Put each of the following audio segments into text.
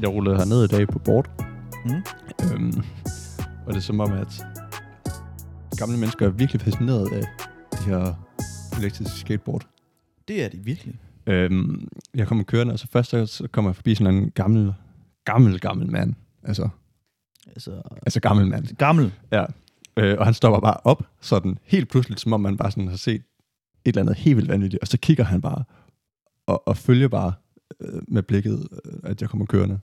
jeg rullede herned i dag på bord. Mm. Øhm, og det er som om, at gamle mennesker er virkelig fascineret af de her elektriske skateboard. Det er de virkelig. Øhm, jeg kommer kørende, og så først så, så kommer jeg forbi sådan en gammel, gammel, gammel mand. Altså, Altså, altså gammel mand. gammel. Ja. Øh, og han stopper bare op, sådan helt pludseligt, som om man bare sådan har set et eller andet helt vildt vanvittigt. Og så kigger han bare, og, og følger bare øh, med blikket, øh, at jeg kommer kørende.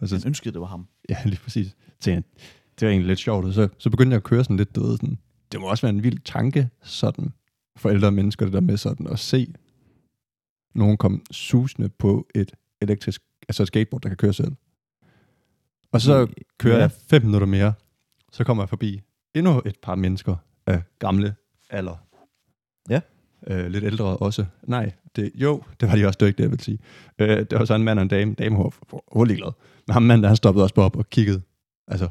Altså, Og så, Han altså, ønskede, det var ham. ja, lige præcis. Tænkte, jeg, det var egentlig lidt sjovt. Og så, så begyndte jeg at køre sådan lidt, du ved, sådan, det må også være en vild tanke, sådan, for ældre mennesker, det der med sådan, at se nogen komme susende på et elektrisk, altså et skateboard, der kan køre selv. Og så kører Ja. ja. jeg fem minutter mere, så kommer jeg forbi endnu et par mennesker af gamle alder. Ja. Øh, lidt ældre også. Nej, det, jo, det var de også, det var ikke det, jeg ville sige. Øh, det var så en mand og en dame, dame var hurtigt glad. Men ham manden, der han stoppede også bare op og kiggede. Altså,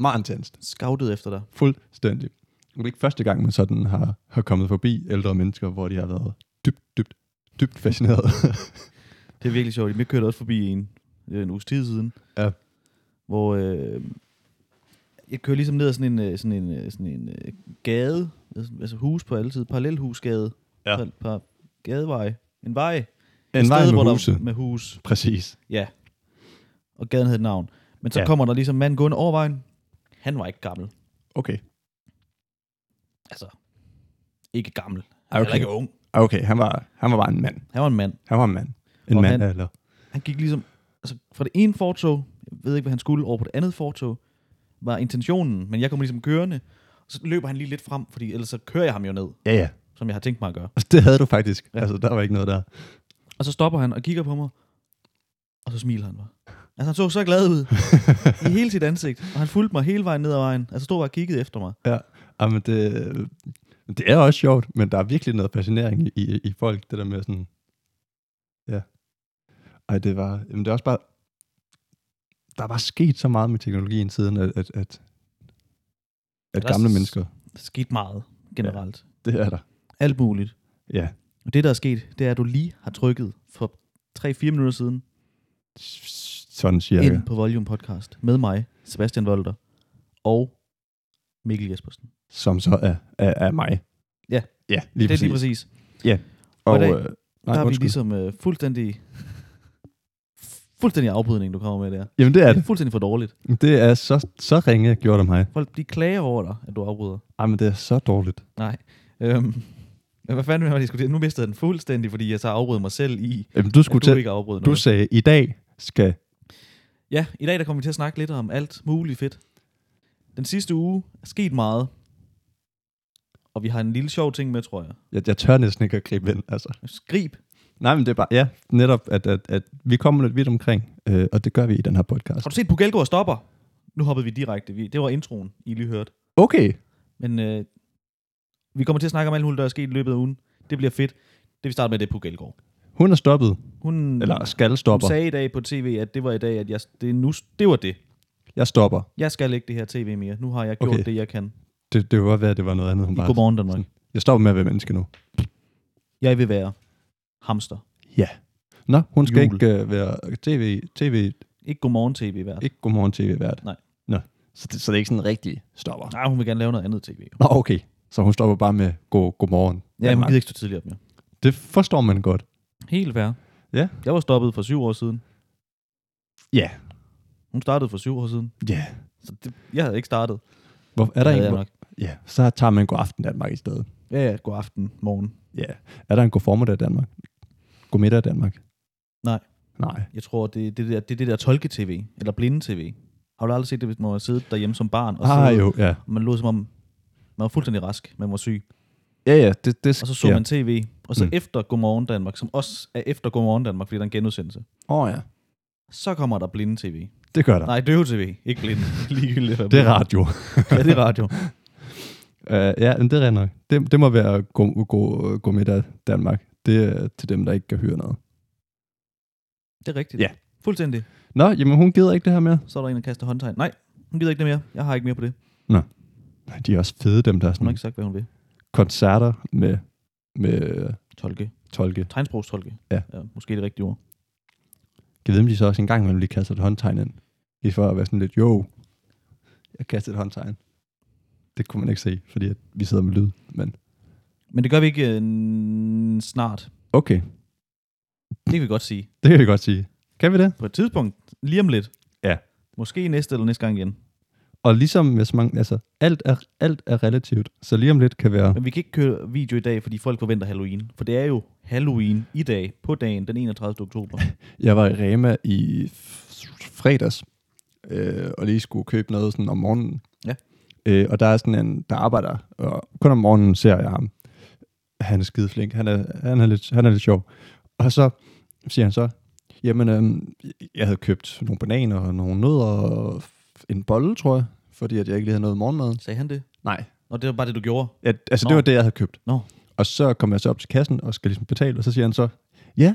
meget intenst. Scoutet efter dig. Fuldstændig. Og Det er ikke første gang, man sådan har, har kommet forbi ældre mennesker, hvor de har været dybt, dybt, dybt fascineret. Det er virkelig sjovt. Vi kørte også forbi en, øh, en uges tid siden. Ja. Hvor øh, jeg kører ligesom ned ad sådan en, øh, sådan en, øh, sådan en øh, gade, altså- altså hus på alle sider, parallelhusgade, Ja. par, par gadevej, en vej, en vej sted, hvor med der- huse. med hus, Præcis. ja, og gaden hed et navn. Men så ja. Ja. kommer der ligesom en mand gående over vejen. Han var ikke gammel, Okay. altså ikke gammel, Ah, Heller okay. ikke ung. Ah, Okay, han var, han var bare en mand. Han var en mand. Han var en mand. En Og mand, han- eller... Han gik ligesom altså fra det ene fortog, jeg ved ikke, hvad han skulle, over på det andet fortog, var intentionen, men jeg kom ligesom kørende, og så løber han lige lidt frem, fordi ellers så kører jeg ham jo ned, Ja, ja. som jeg har tænkt mig at gøre. Altså, det havde du faktisk. Ja. Ja. Altså, der var ikke noget der. Og så stopper han og kigger på mig, og så smiler han bare. Altså han så så glad ud i hele sit ansigt, og han fulgte mig hele vejen ned ad vejen, altså stod bare og kiggede efter mig. Jamen, det, det er også sjovt, men der er virkelig noget fascinering i, i, i folk, det der med sådan... Ja. Ej, det var... Jamen, det er også bare... Der er bare sket så meget med teknologien siden, at, at, at, at Der er gamle s- mennesker... Der skete meget generelt. Ja. Det er der. Alt muligt. Ja. Og det, der er sket, det er, at du lige har trykket for 3-4 minutter siden Sådan siger ja, jeg. ind på Volume Podcast med mig, Sebastian Volter, og Mikkel Jespersen. Som så er, er, er mig. Ja. Ja, lige det er præcis. lige præcis. Og, Hvordan- øh, Nej, nej, der er vi undskyld. ligesom øh, fuldstændig... fuldstændig afbrydning, du kommer med der. Jamen, det er Det er fuldstændig for dårligt. det. Det er så, så ringe gjort af mig. Folk de klager over dig, at du afbryder. Ej, men det er så dårligt. Nej. Øhm, men hvad fanden vil jeg diskutere? Nu mistede jeg den fuldstændig, fordi jeg så afbrød mig selv i, Jamen, du at skulle du til... ikke afbrød Du noget. sagde, i dag skal... Ja, i dag der kommer vi til at snakke lidt om alt muligt fedt. Den sidste uge er sket meget. Og vi har en lille sjov ting med, tror jeg. Jeg, jeg tør næsten ikke at gribe ind, altså. Skrib. Nej, men det er bare, ja, netop, at, at, at vi kommer lidt vidt omkring, øh, og det gør vi i den her podcast. Har du set Pugelgo og stopper? Nu hoppede vi direkte. Vi, det var introen, I lige hørte. Okay, Men øh, vi kommer til at snakke om alt muligt, der er sket i løbet af ugen. Det bliver fedt. Det vi starter med, det er Puk Elgård. hun er stoppet, Hun, eller skal hun stopper. sagde i dag på tv, at det var i dag, at jeg, det, er nu, det var det. Jeg stopper. Jeg skal ikke det her tv mere. Nu har jeg gjort Okay. det, jeg kan. Det, det kunne godt være, at det var noget andet, hun I bare... Godmorgen Danmark. Sådan. Jeg stopper med at være menneske nu. Jeg vil være hamster. Ja. Nå, hun skal Jul. ikke øh, være tv, TV, Ikke Godmorgen tv hvert. ikke Godmorgen TV-vært. Nej. Nå, så det, så det er ikke sådan rigtig stopper. Nej, hun vil gerne lave noget andet tv. Nå, okay. Så hun stopper bare med god, godmorgen. Ja, hun Danmark. gider ikke stå tidligere op mere. Det forstår man godt. Helt fair. Ja. Jeg var stoppet for syv år siden. Ja. Hun startede for syv år siden. Ja. Så det, jeg havde ikke startet. Hvor, er der Det havde en, jeg hvor, nok. ja, så tager man god aften Danmark i stedet. Ja, ja, god aften, morgen. Ja. Er der en god formiddag i Danmark? God middag i Danmark? Nej. Nej. Jeg tror, det, det, der, det er det der tolke-tv, eller blinde-tv. Har du aldrig set det, hvis man har siddet derhjemme som barn, og Ah, siddet- jo, ja. og man lå som om, man var fuldstændig rask, man var syg. Ja, ja, det, det Og så så ja. man tv, og så Mm. efter Godmorgen Danmark, som også er efter Godmorgen Danmark, fordi der er en genudsendelse, Åh, oh, ja. så kommer der blinde-tv. Det gør der. Nej, døve-tv, ikke blinde. Ligegyldigt. Det er radio. Ja, det er radio. uh, ja, men det er rent nok. Det, det må være god, god, god middag Danmark. Det er til dem, der ikke kan høre noget. Det er rigtigt. Ja. Fuldstændig. Nå, jamen hun gider ikke det her mere. Så er der en, der kaster håndtegn. Nej, hun gider ikke det mere. Jeg har ikke mere på det. Nej, de er også fede, dem der er Hun har sådan ikke sagt, hvad hun vil. koncerter med, med øh, Tolke. tolke. Tegnsprogstolke. Ja. ja måske det rigtige ord. Kan vide, om de så også en gang imellem lige kaster et håndtegn ind. I for at være sådan lidt, jo, jeg kaster et håndtegn. Det kunne man ikke se, fordi at vi sidder med lyd. Men Men det gør vi ikke øh, snart. okay, Det kan vi godt sige. det kan vi godt sige. Kan vi det? På et tidspunkt, lige om lidt. Ja. Måske næste eller næste gang igen. Og ligesom med så mange, altså alt er, alt er relativt, så lige om lidt kan være, Men vi kan ikke køre video i dag, fordi folk forventer Halloween. For det er jo Halloween i dag, på dagen, den 31. oktober. jeg var i Rema i f- fredags, øh, og lige skulle købe noget sådan om morgenen. Ja. Øh, og der er sådan en, der arbejder, og kun om morgenen ser jeg ham. Han er skide flink, han er, han er, lidt, han er lidt sjov. Og så siger han så, jamen, øhm, jeg havde købt nogle bananer og nogle nødder og en bolle, tror jeg, fordi at jeg ikke lige havde noget morgenmad. Sagde han det? Nej, Og det var bare det, du gjorde. Ja, altså Nå. Nå. det var det, jeg havde købt. Nå. Og så kom jeg så op til kassen og skal ligesom betale, og så siger han så, ja,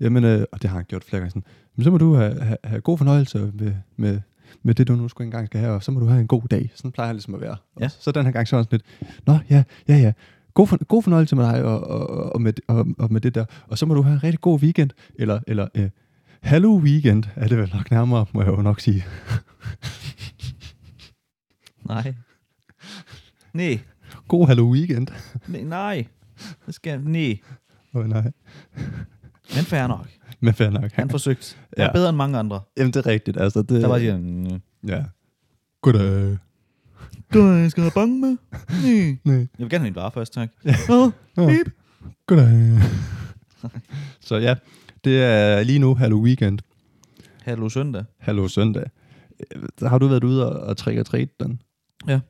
jamen, øh, og det har han gjort flere gange sådan, men så må du have, have, have god fornøjelse med, med, med det, du nu skulle engang skal have, og så må du have en god dag. Sådan plejer han ligesom at være. Ja. Og så den her gang, så var han sådan lidt, nå, ja, ja, ja, god, for, god fornøjelse med dig og, og, og, med, og, og med det der, og så må du have en rigtig god weekend, eller, eller øh, hallo weekend, er det vel nok nærmere, må jeg jo nok sige. Nej. Nej. God hallo weekend. Nej. Nej. Det skal... Nej. Åh, nej, Men fair nok. men fair nok. Han forsøgte. Han Ja. er bedre end mange andre. Jamen, det er rigtigt, altså. Det, Der var siger han, Ja. Goddag. du skal have bange med. Nej. Nej. Jeg vil gerne have en vare først, tak. Ja. Bip. Goddag. så ja, det er lige nu Hallo Weekend, Hallo søndag. Hallo Søndag. Øh, Har du været ude og, og trick og treat den? Ja.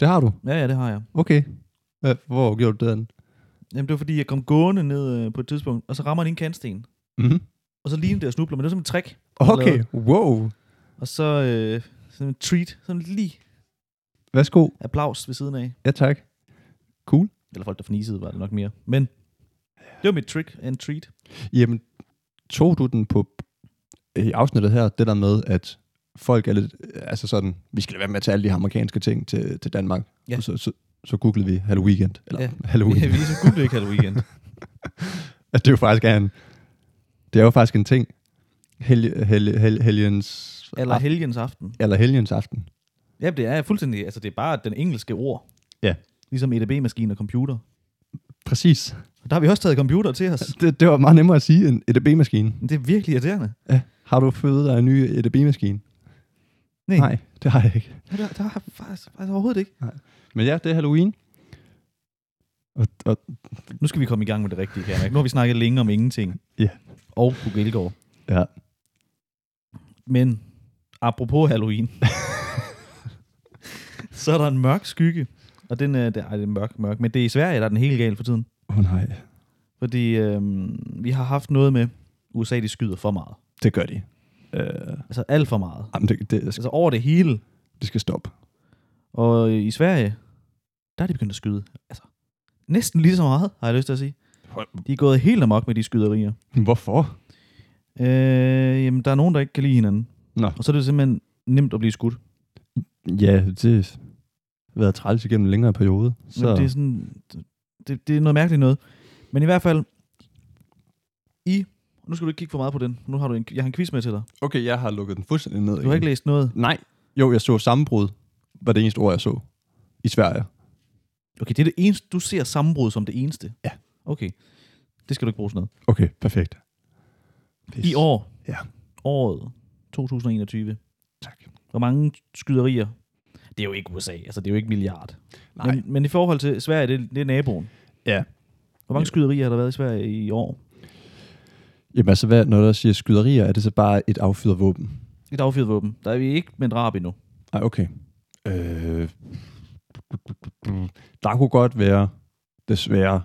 Det har du? Ja, ja, det har jeg. Okay. Hvad- Hvor gjorde du den? Jamen, det var fordi, jeg kom gående ned øh, på et tidspunkt, og så rammer den en kantsten. Mm-hmm. Og så ligner det og snubler, men det var sådan et trick. Okay, wow. Og så øh, sådan en treat, sådan lige Værsgo. applaus ved siden af. Ja, tak. Cool. Eller folk, der fornisede, var det nok mere. Men det var mit trick and treat. Jamen, tog du den på øh, i afsnittet her, det der med, at folk er lidt, øh, altså sådan, vi skal lade være med at tage alle de amerikanske ting til, til Danmark. Ja. Og Så, så, så googlede vi Hallo Weekend, eller Ja. ja. Hallo Vi Weekend. vi så googlede ligesom ikke Halloween weekend. at det jo faktisk er en, det er jo faktisk en ting. Helge, helge, helge, helgens, Eller af- helgens aften. eller helgens aften. Ja, det er fuldstændig, altså det er bare den engelske ord. Ja. Ligesom EDB-maskine og computer. Præcis. Og der har vi også taget computer til os. Det, det var meget nemmere at sige end EDB-maskinen. Men det er virkelig irriterende. Ja. Har du fået dig en ny EDB-maskine? Nej. Nej, det har jeg ikke. Ja, Der, der har jeg faktisk, faktisk overhovedet ikke. Men ja, det er Halloween. Og, og Nu skal vi komme i gang med det rigtige, kan jeg mærke. Nu har vi snakket længe om ingenting. Ja. Og Puk Elgård. Ja. Men apropos Halloween, så er der en mørk skygge. Og den er, det, ej, det er mørk, mørk. Men det er i Sverige, der er den helt gal for tiden. oh nej, Fordi øhm, vi har haft noget med, USA de skyder for meget. det gør de. Øh, Altså alt for meget. jamen, det, det, skal, Altså over det hele. det skal stoppe. Og øh, i Sverige, der er de begyndt at skyde. Altså, næsten lige så meget, har jeg lyst til at sige. De er gået helt amok med de skyderier. Hvorfor? Øh, jamen, der er nogen, der ikke kan lide hinanden. Nå. Og så er det simpelthen nemt at blive skudt. Ja, det har været træls igennem en længere periode. Så. Så, Men det er sådan, det, det er noget mærkeligt noget. Men i hvert fald, i, nu skal du ikke kigge for meget på den. Nu har du en, jeg har en quiz med til dig. okay, jeg har lukket den fuldstændig ned. Du har ikke læst noget. Nej. Jo, jeg så sammenbrud, var det eneste ord, jeg så. I Sverige. Okay, det er det eneste, du ser sammenbrud som det eneste. Ja. Okay, det skal du ikke bruge sådan noget. Okay, perfekt. Pis. I år, Ja. året 2021, Tak. hvor mange skyderier? Det er jo ikke USA, altså det er jo ikke milliard. Nej. Men, men i forhold til Sverige, det, det er naboen. Ja. Hvor mange Ja. skyderier har der været i Sverige i år? Jamen altså, hvad, når der siger skyderier, er det så bare et affyret våben? Et affyret våben. Der er vi ikke med drab endnu. Nej, okay. Øh, der kunne godt være, desværre,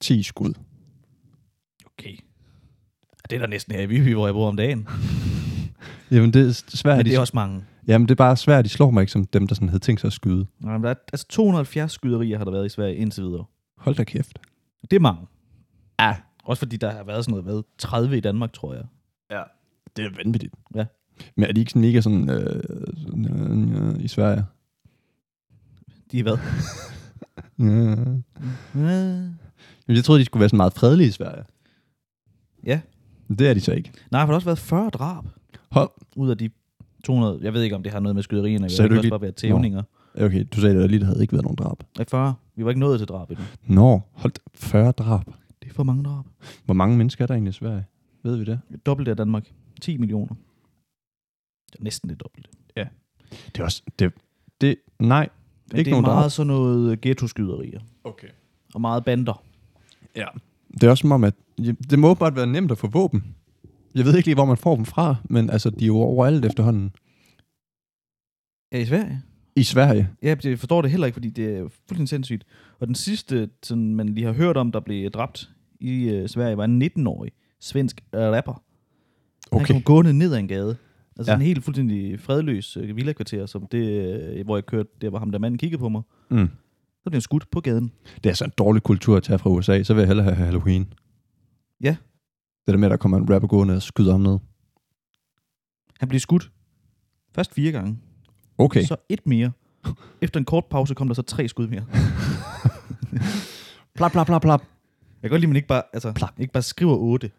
10 skud. Okay. Det er der næsten her i Viby, hvor jeg bor om dagen. Jamen, det er svært. Men de, det er også mange. Jamen, det er bare svært, de slår mig ikke som dem, der sådan havde tænkt sig at skyde. Nej, men der er, altså 270 skyderier har der været i Sverige indtil videre. Hold da kæft. Det er mange. Ja. Også fordi der har været sådan noget hvad, 30 i Danmark, tror jeg. Ja, det er vanvittigt. Ja. Men er de ikke sådan mega sådan, øh, sådan øh, øh, i Sverige? De er hvad? Ja. Øh, Jamen, jeg troede, de skulle være sådan meget fredelige i Sverige. Ja. Det er de så ikke. Nej, for der har også været 40 drab Hold. ud af de 200. Jeg ved ikke, om det har noget med skyderierne at Så gøre. er Det du kan også lige- bare være tævninger. Okay, du sagde, at der lige havde ikke været nogen drab. Ja, 40. Vi var ikke nået til drab endnu. Nå, holdt 40 drab. Det er for mange drab. Hvor mange mennesker er der egentlig i Sverige? Ved vi det? Dobbelt af Danmark. 10 millioner. Det er næsten det dobbelte. Det er også... Det, det, nej, Men Ikke det er nogen meget drab. sådan noget ghettoskyderier. Okay. Og meget bander. Ja. Det er også som om, at det må åbenbart være nemt at få våben. Jeg ved ikke lige, hvor man får dem fra, men altså, de er jo overalt efterhånden. Ja, i Sverige. I Sverige. Ja, jeg forstår det heller ikke, fordi det er fuldstændig sindssygt. Og den sidste, sådan, man lige har hørt om, der blev dræbt i øh, Sverige, var en 19-årig svensk rapper. Okay. Han kom gående ned ad en gade. Altså ja. Ja. en helt fuldstændig fredløs øh, villakvarter, som det, øh, hvor jeg kørte, der var ham, der manden kiggede på mig. Mm. Så blev han skudt på gaden. Det er altså en dårlig kultur at tage fra USA. Så vil jeg hellere have Halloween. Ja. Det der med, at der kommer en rapper gående og skyder ham ned. Han blev skudt først fire gange, Okay. så et mere. Efter en kort pause kom der så tre skud mere. Plap, plap, plap, plap. Jeg kan godt lide, at man ikke bare, altså, Plak. ikke bare skriver otte,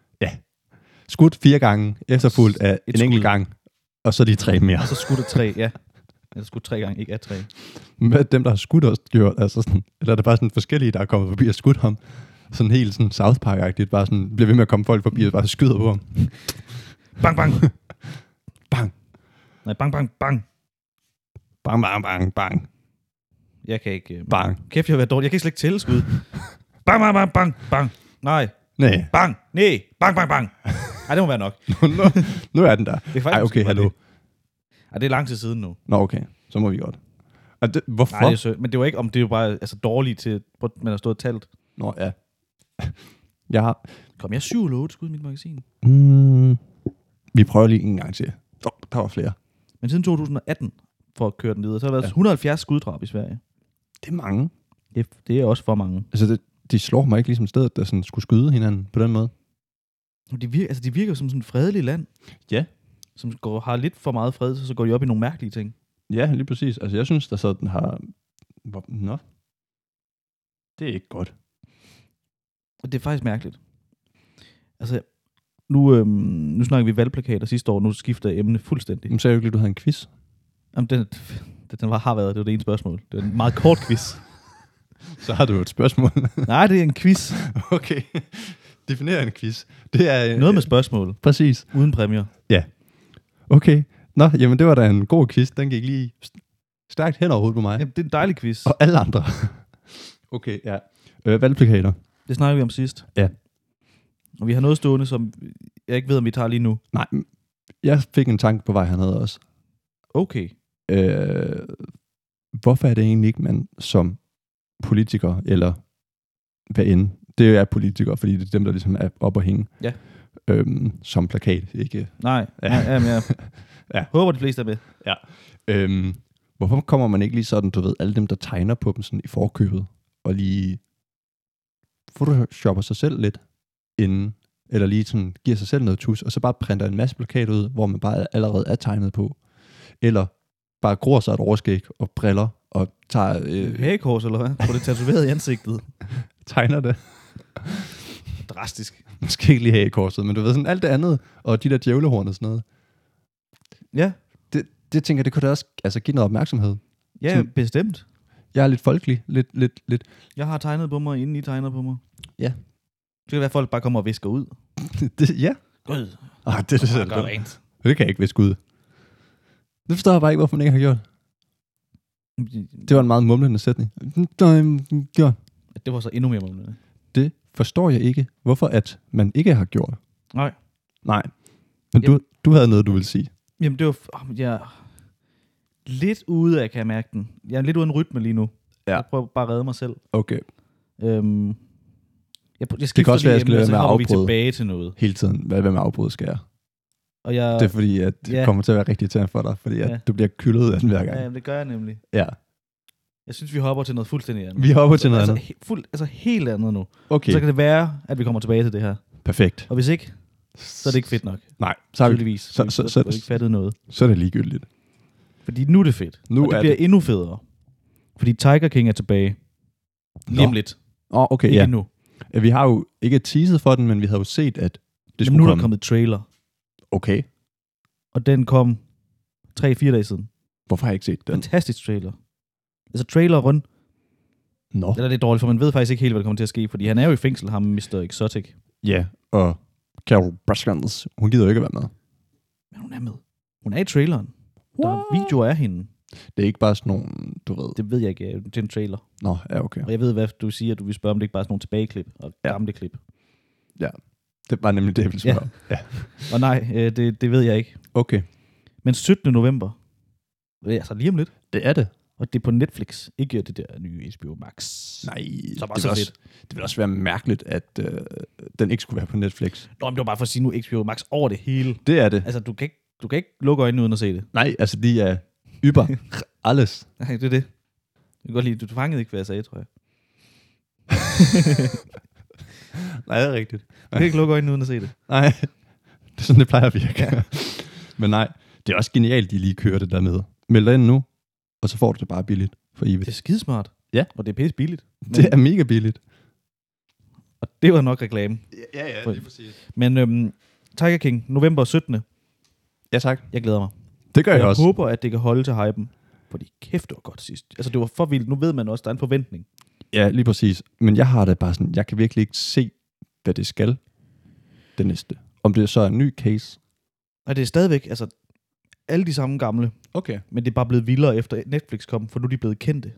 Skudt fire gange, efterfulgt af en skud. enkelt gang. Og så de tre mere. og så skudt af tre, ja. Eller skudt tre gange, ikke af tre. Hvad er dem, der har skudt os gjort? Altså sådan, eller er det bare sådan forskellige, der er kommet forbi og skudt ham? Sådan helt sådan South Park-agtigt. Bare sådan, bliver ved med at komme folk forbi og bare skyder på ham. Bang, bang. Bang. Nej, bang, bang, bang. Bang, bang, bang, bang, Jeg kan ikke... Øh, bang. kæft, jeg har været dårlig. Jeg kan ikke slet ikke tælle skud. bang, bang, bang, bang, bang. Nej, Nej, bang, nej, bang, bang, bang. Ej, det må være nok. nu, nu- nu er den der. Det er faktisk- Ej, okay, hallo. Ej, det er lang tid siden nu. Nå, okay, så må vi godt. Og det, hvorfor? Nej, det er sø- men det var ikke om, det var bare altså, dårligt til, hvor man har stået og talt. Nå, ja. Jeg har... Kom, jeg er syv eller otte skud i mit magasin. Mm, vi prøver lige en gang til. Oh, der var flere. Men siden 2018, for at køre den videre, så har der været ja. 170 skuddrab i Sverige. Det er mange. Det, det er også for mange. Altså, det, de slår mig ikke ligesom stedet, der sådan skulle skyde hinanden på den måde. De virker, altså, de virker jo som sådan et fredeligt land. Ja. Som går, har lidt for meget fred, så, så går de op i nogle mærkelige ting. Ja, lige præcis. Altså, jeg synes, der sådan har... Hvor- Nå. Det er ikke godt. Og det er faktisk mærkeligt. Altså, nu, øhm, nu snakker vi valgplakater sidste år, nu skifter jeg emne fuldstændig. Men sagde du ikke lige, du havde en quiz? Jamen, den, den, den var, har været, det var det ene spørgsmål. Det var en meget kort quiz. Så har du jo et spørgsmål. Nej, det er en quiz. okay. Definere en quiz. Det er... Noget med spørgsmål, Præcis. uden præmier. Okay. Nå, jamen det var da en god quiz. Den gik lige st- stærkt hen over hovedet på mig. Jamen, det er en dejlig quiz. Og alle andre. okay, ja. Øh, valgplakater. Det snakker vi om sidst. Ja. Og vi har noget stående, som jeg ikke ved, om vi tager lige nu. Nej, m- jeg fik en tanke på vej hernede også. Okay. Øh, hvorfor er det egentlig ikke, man som politiker, eller hvad end, det er politikere, fordi det er dem, der ligesom er op og hænge, Ja. øhm, som plakat, ikke? Nej, Ja. ja. nej jamen, jeg Ja. håber, de fleste er med. Øhm, hvorfor kommer man ikke lige sådan, du ved, alle dem, der tegner på dem sådan i forkøbet, og lige photoshopper sig selv lidt inden, eller lige sådan giver sig selv noget tus, og så bare printer en masse plakater ud, hvor man bare allerede er tegnet på. Eller bare gror sig et overskæg og briller, og tager, øh, Hagekors, eller hvad? Få det tatoveret i ansigtet. tegner det. Drastisk. Måske ikke lige her i korset, men du ved sådan alt det andet, og de der djævlehorn og sådan noget. Ja, Det tænker jeg, det kunne da også altså, give noget opmærksomhed. ja Sådan- bestemt. Jeg er lidt folkelig, lidt, lidt, lidt. Jeg har tegnet på mig, inden I tegner på mig. Ja. Så kan det være, at folk bare kommer og visker ud. det, ja. Gud, Ah, det, det, gør rent. Det kan jeg ikke viske ud. Det forstår jeg bare ikke, hvorfor man ikke har gjort. Det var en meget mumlende sætning. Gjort. Det var så endnu mere målende. Det forstår jeg ikke, hvorfor at man ikke har gjort. Nej. Nej. Men du, du havde noget, du ville sige. Jamen, det var... Oh, jeg er lidt ude af, kan jeg mærke den. Jeg er lidt uden rytme lige nu. Ja. Jeg prøver bare at redde mig selv. Okay. Øhm, jeg, jeg skifter også lige være, jeg skal emne, lade og så være med at kommer vi afbryde. tilbage til noget. Hele tiden, hvad, hvad med afbrud skal jeg? Og jeg, Det er fordi, at det Ja. kommer til at være rigtig irriterende for dig, fordi at Ja. du bliver kyldet af den hver gang. ja, jamen, det gør jeg nemlig. Ja. Jeg synes, vi hopper til noget fuldstændig andet. Vi hopper til noget altså, andet. He, fuld, altså helt andet nu. Okay, Okay. Så kan det være, at vi kommer tilbage til det her. perfekt. Og hvis ikke, så er det ikke fedt nok. Nej, så, er vi, Tydeligvis. så- Vi- så- vi så- har ikke fattet noget. så er det ligegyldigt. Fordi nu er det fedt. Nu og det er bliver det. endnu federe. Fordi Tiger King er tilbage. Lige om Nå. lidt. Åh, oh, okay, Ikke ja. endnu. Øh, Vi har jo ikke teaset for den, men vi havde jo set, at Det Men skulle nu er komme. der kommet trailer, Okay. og den kom 3-4 dage siden. Hvorfor har jeg ikke set den? Fantastisk trailer. Altså trailer run. Nå. Eller det er dårligt, for man ved faktisk ikke helt, hvad der kommer til at ske, fordi han er jo i fængsel, ham Mr. Exotic. Ja, og Carol Baskins, hun gider jo ikke at være med. Men hun er med. Hun er i traileren. Der er videoer af hende. Det er ikke bare sådan nogle, du ved. Det ved jeg ikke. øh, Det er en trailer. Nå, ja, okay. Og jeg ved, hvad du siger. Du vil spørge, om det ikke bare er sådan nogle tilbageklip og Ja. gamle klip. Det var nemlig det, jeg ville spørge Ja. om. Ja. Og nej, øh, det, det ved jeg ikke. Okay, Men 17. november. Det er altså lige om lidt. det er det. Og det er på Netflix. Ikke det der nye HBO Max. Nej, Så var det, så ville også, det ville også være mærkeligt, at øh, den ikke skulle være på Netflix. Nå, men det var bare for at sige nu HBO Max over det hele. Det er det. Altså, du kan ikke, du kan ikke lukke øjnene uden at se det. Nej, altså de er yber alles. Nej, det er det. Jeg kan godt lide, du fangede ikke, hvad jeg sagde, tror jeg. Nej, det er rigtigt. Du kan ikke lukke øjnene uden at se det. Nej, det er sådan, det plejer at virke. Ja. Men nej, det er også genialt, de lige kører det der med. Meld dig ind nu, og så får du det bare billigt for evigt. Det er skidesmart. Ja. Og det er pisse billigt. Det er mega billigt. Og det var nok reklame. Ja, ja, lige præcis. Men øhm, Tiger King, november 17. Ja, tak. Jeg glæder mig. Det gør jeg, jeg også. håber, at det kan holde til hypen. Fordi kæft, det var godt sidst. Altså, det var for vildt. Nu ved man også, der er en forventning. Ja, lige præcis. Men jeg har det bare sådan, jeg kan virkelig ikke se, hvad det skal, det næste. Om det så er en ny case. Og det er stadigvæk, altså, alle de samme gamle. Okay. Men det er bare blevet vildere efter Netflix kom, for nu er de blevet kendte.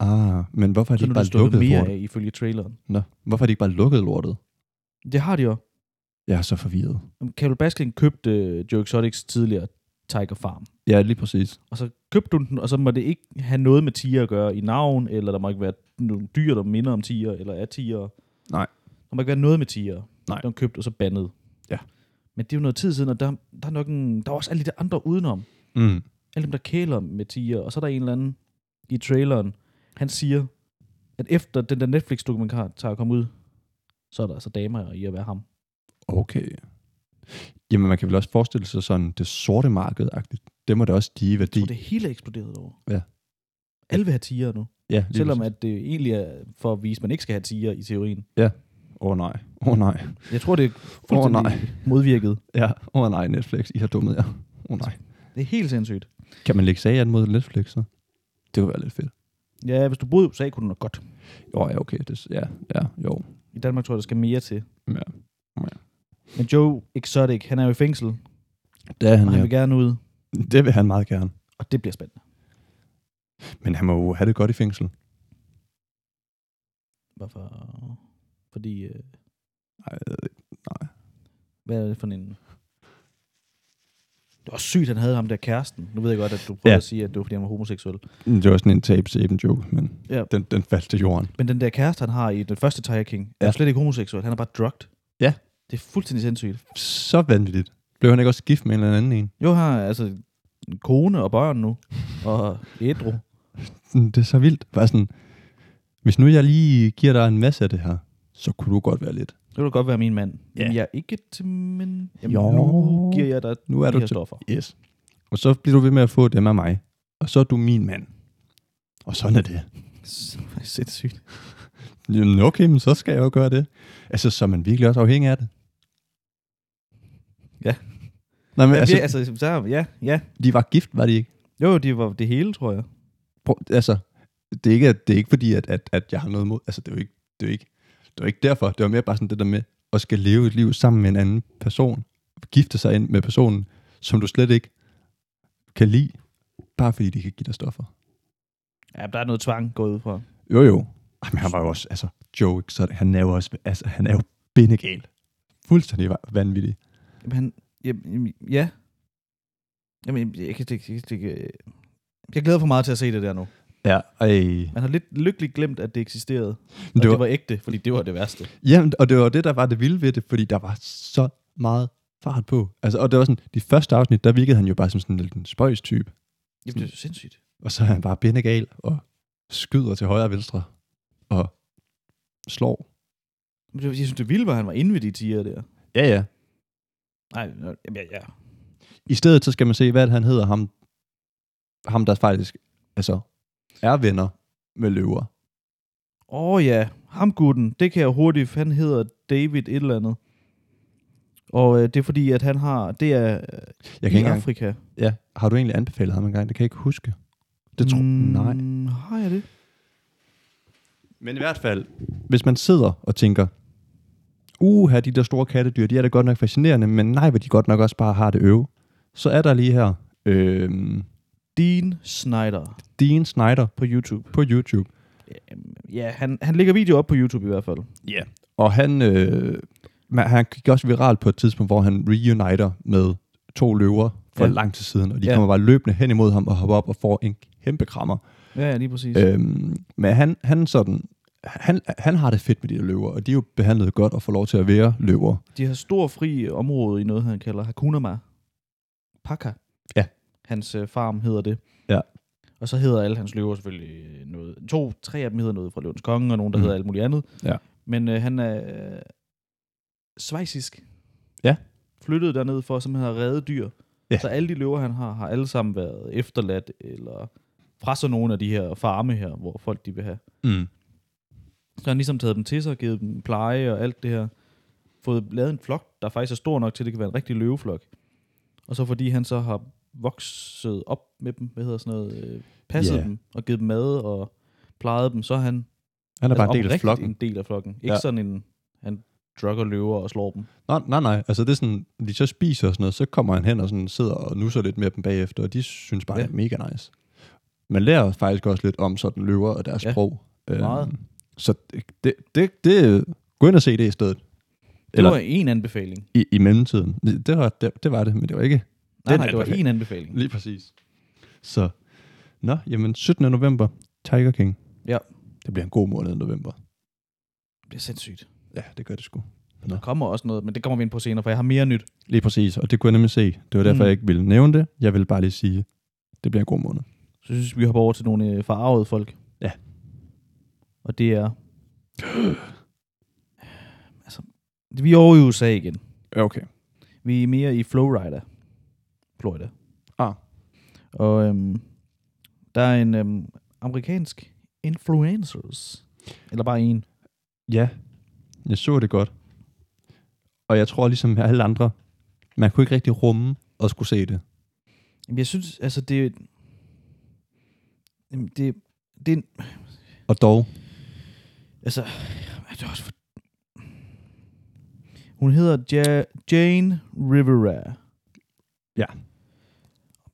Ah, men hvorfor har de Så nu ikke er bare de stået lukket mere lortet? af, ifølge traileren. Nå, hvorfor har de ikke bare lukket lortet? Det har de jo. Jeg er så forvirret. Carol Baskin købte øh, Joe Exotics tidligere Tiger Farm. Ja, lige præcis. Og så købte hun den, og så må det ikke have noget med tiger at gøre i navn, eller der må ikke være nogle dyr, der minder om tiger, eller er tiger. Nej. Der må ikke være noget med tiger. Nej. Den købt og så bandet. Ja. Men det er jo noget tid siden, og der, der er nok en, der er også alle de der andre udenom. Mm. Alle dem, der kæler med tiger, og så er der en eller anden i traileren, han siger, at efter den der Netflix-dokumentar tager kom ud, så er der altså damer i at være ham. Okay. Jamen, man kan vel også forestille sig sådan, det sorte marked-agtigt. Det må da også stige i De. værdi. Så det hele er eksploderet over. Ja. Alle vil have tiger nu. Ja, lige Selvom præcis. at det egentlig er for at vise, at man ikke skal have tiger i teorien. Åh oh, nej, åh oh, nej, Jeg tror, det er åh oh, fuldstændig nej. modvirket. Ja, åh oh, nej, Netflix, I har dummet jer. Åh oh, nej. Det er helt sindssygt. Kan man lægge sag an mod Netflix, så? Det kunne være lidt fedt. Ja, hvis du boede i USA, kunne du nok godt. Jo, ja, okay. Det, ja, ja, jo. I Danmark tror jeg, der skal mere til. Ja. Ja. Men Joe Exotic, han er jo i fængsel, Det er han, og han ja. vil gerne ud, Det vil han meget gerne. og det bliver spændende. Men han må jo have det godt i fængsel. Hvorfor? Fordi, øh, Nej, jeg ved ikke. nej. hvad er det for en... Det var sygt, han havde ham der kæresten. Nu ved jeg godt, at du prøver ja. Ja. at sige, at det var, fordi han var homoseksuel. Det var sådan en tabe joke, men Ja. ja. den, den faldt til jorden. Men den der kæreste, han har i den første Tiger King, ja. er Ja. jo slet ikke homoseksuel. Han er bare drugged. Ja. Det er fuldstændig sindssygt. Så vanvittigt. Blev han ikke også gift med en eller anden en? Jo, han har altså en kone og børn nu, og ædru. Mm, Det er så vildt. Bare sådan, hvis nu jeg lige giver dig en masse af det her, så kunne du godt være lidt. Det kunne godt være min mand. Ja. Jamen, jeg er ikke til men... Jamen, Jo. nu giver jeg dig Nu er de du her til. stoffer. Yes. Og så bliver du ved med at få dem af mig. Og så er du min mand. Og sådan er det. Det er sindssygt. Jamen okay, men så skal jeg jo gøre det. Altså, så er man virkelig også afhængig af det. Ja. Nej, men Men, altså, altså, altså, så, ja, ja. de var gift, var de ikke? Jo, det var det hele, tror jeg. Prøv, altså, det er ikke, at- det er ikke fordi, at, at, at jeg har noget mod... Altså, det er jo ikke, det er jo ikke, det er jo ikke derfor. Det var mere bare sådan det der med at skal leve et liv sammen med en anden person. Gifte sig ind med personen, som du slet ikke kan lide, bare fordi de kan give dig stoffer. Ja, der er noget tvang gået ud fra. Jo, jo. Ej, men han var jo også... Altså, Joe, så han er jo også... Altså, han er jo bindegal. Fuldstændig va- vanvittig. Jamen, han, jamen, jamen, ja. Jamen, jeg, kan, det, det, det, jeg glæder for meget til at se det der nu. Ja, ej. Man har lidt lykkeligt glemt, at det eksisterede. Men Og det det var, var ægte, fordi det var det værste. jamen, og det var det, der var det vilde ved det, fordi der var så meget fart på. Altså, og det var sådan, de første afsnit, der virkede han jo bare som sådan lidt en spøjs type. Jamen, det er sindssygt. Og så er han bare bindegal og skyder til højre og venstre og slår. Men det, jeg synes, det vilde var, at han var inde ved de tiger der. Ja, ja. Nej, nå, jamen, ja, ja. I stedet så skal man se, hvad han hedder ham, ham der faktisk altså, er venner med løver. Åh oh, ja, ham gutten, det kan jeg hurtigt, han hedder David et eller andet. Og øh, det er fordi, at han har... Det er øh, Jeg i kan ikke engang, Afrika. ja, har du egentlig anbefalet ham engang? Det kan jeg ikke huske. Det tror mm. Nej. Har jeg det? Men i hvert fald, hvis man sidder og tænker, uha, de der store kattedyr, de er da godt nok fascinerende, men nej, hvor de godt nok også bare har det øve. Så er der lige her øh, Dean Snyder Dean Snyder på YouTube. på YouTube. Ja, han, han lægger video op på YouTube i hvert fald. Ja. Yeah. Og han, øh, man, han gik også viralt på et tidspunkt, hvor han reuniter med to løver for Ja. ja. lang tid siden, og de Ja. ja. kommer bare løbende hen imod ham og hopper op og får en kæmpe krammer. Ja, ja lige præcis. Øh. Øhm, men han, han, sådan, han, han har det fedt med de der løver, og de er jo behandlet godt og får lov til at være løver. De har stor fri område i noget, han kalder Hakunama. Paka. Ja. Hans øh, farm hedder det. Ja. Og så hedder alle hans løver selvfølgelig øh, noget. To, tre af dem hedder noget fra Løvens Konge, og nogen, der Mhm. hedder alt muligt andet. Ja. Men øh, han er øh, svejsisk. Ja. Flyttet derned for simpelthen at redde dyr. Ja. Så alle de løver, han har, har alle sammen været efterladt, eller fra så nogle af de her farme her, hvor folk de vil have. Mm. Så har han ligesom taget dem til sig, givet dem pleje og alt det her. Fået lavet en flok, der faktisk er stor nok til, at det kan være en rigtig løveflok. Og så fordi han så har vokset op med dem, hvad hedder sådan noget, øh, passet Ja. yeah. dem og givet dem mad og plejet dem, så er han, han Han er bare en del af Altså, oprigtigt flokken. en del af flokken. Ikke Ja. sådan en, han drukker løver og slår dem. Nej, nej, nej. Altså det er sådan, de så spiser og sådan noget, så kommer han hen og sådan sidder og nusser lidt med dem bagefter, og de synes bare, Ja. ja. det er mega nice. Man lærer faktisk også lidt om sådan løver og deres Ja, ja. sprog. Øhm, meget. Så det, det, det, det, gå ind og se det i stedet. Eller Det var en anbefaling. i, i mellemtiden. Det, det, var, det, det var det, men det var ikke Nej, Den nej, det var anbefaling. en anbefaling. lige præcis. Så, nå, jamen 17. november, Tiger King. Ja. Det bliver en god måned i november. Det er sindssygt. Ja, det gør det sgu. Der kommer også noget, men det kommer vi ind på senere, for jeg har mere nyt. Lige præcis, og det kunne jeg nemlig se. Det var derfor, Mm. mm. jeg ikke ville nævne det. Jeg ville bare lige sige, det bliver en god måned. Så synes vi, vi hopper over til nogle øh, forarvede folk. Ja. Og det er... altså, vi er over i USA igen. Ja, Okay. Vi er mere i Florida. Florida. Ah. Og øhm, der er en øhm, amerikansk influencers. Eller bare en. Ja, jeg så det godt. Og jeg tror ligesom alle andre, man kunne ikke rigtig rumme og skulle se det. Jamen, jeg synes, altså det... Jamen, det, det er en, Og dog, Altså, er det også for... Hun hedder ja- Jane Rivera. Ja.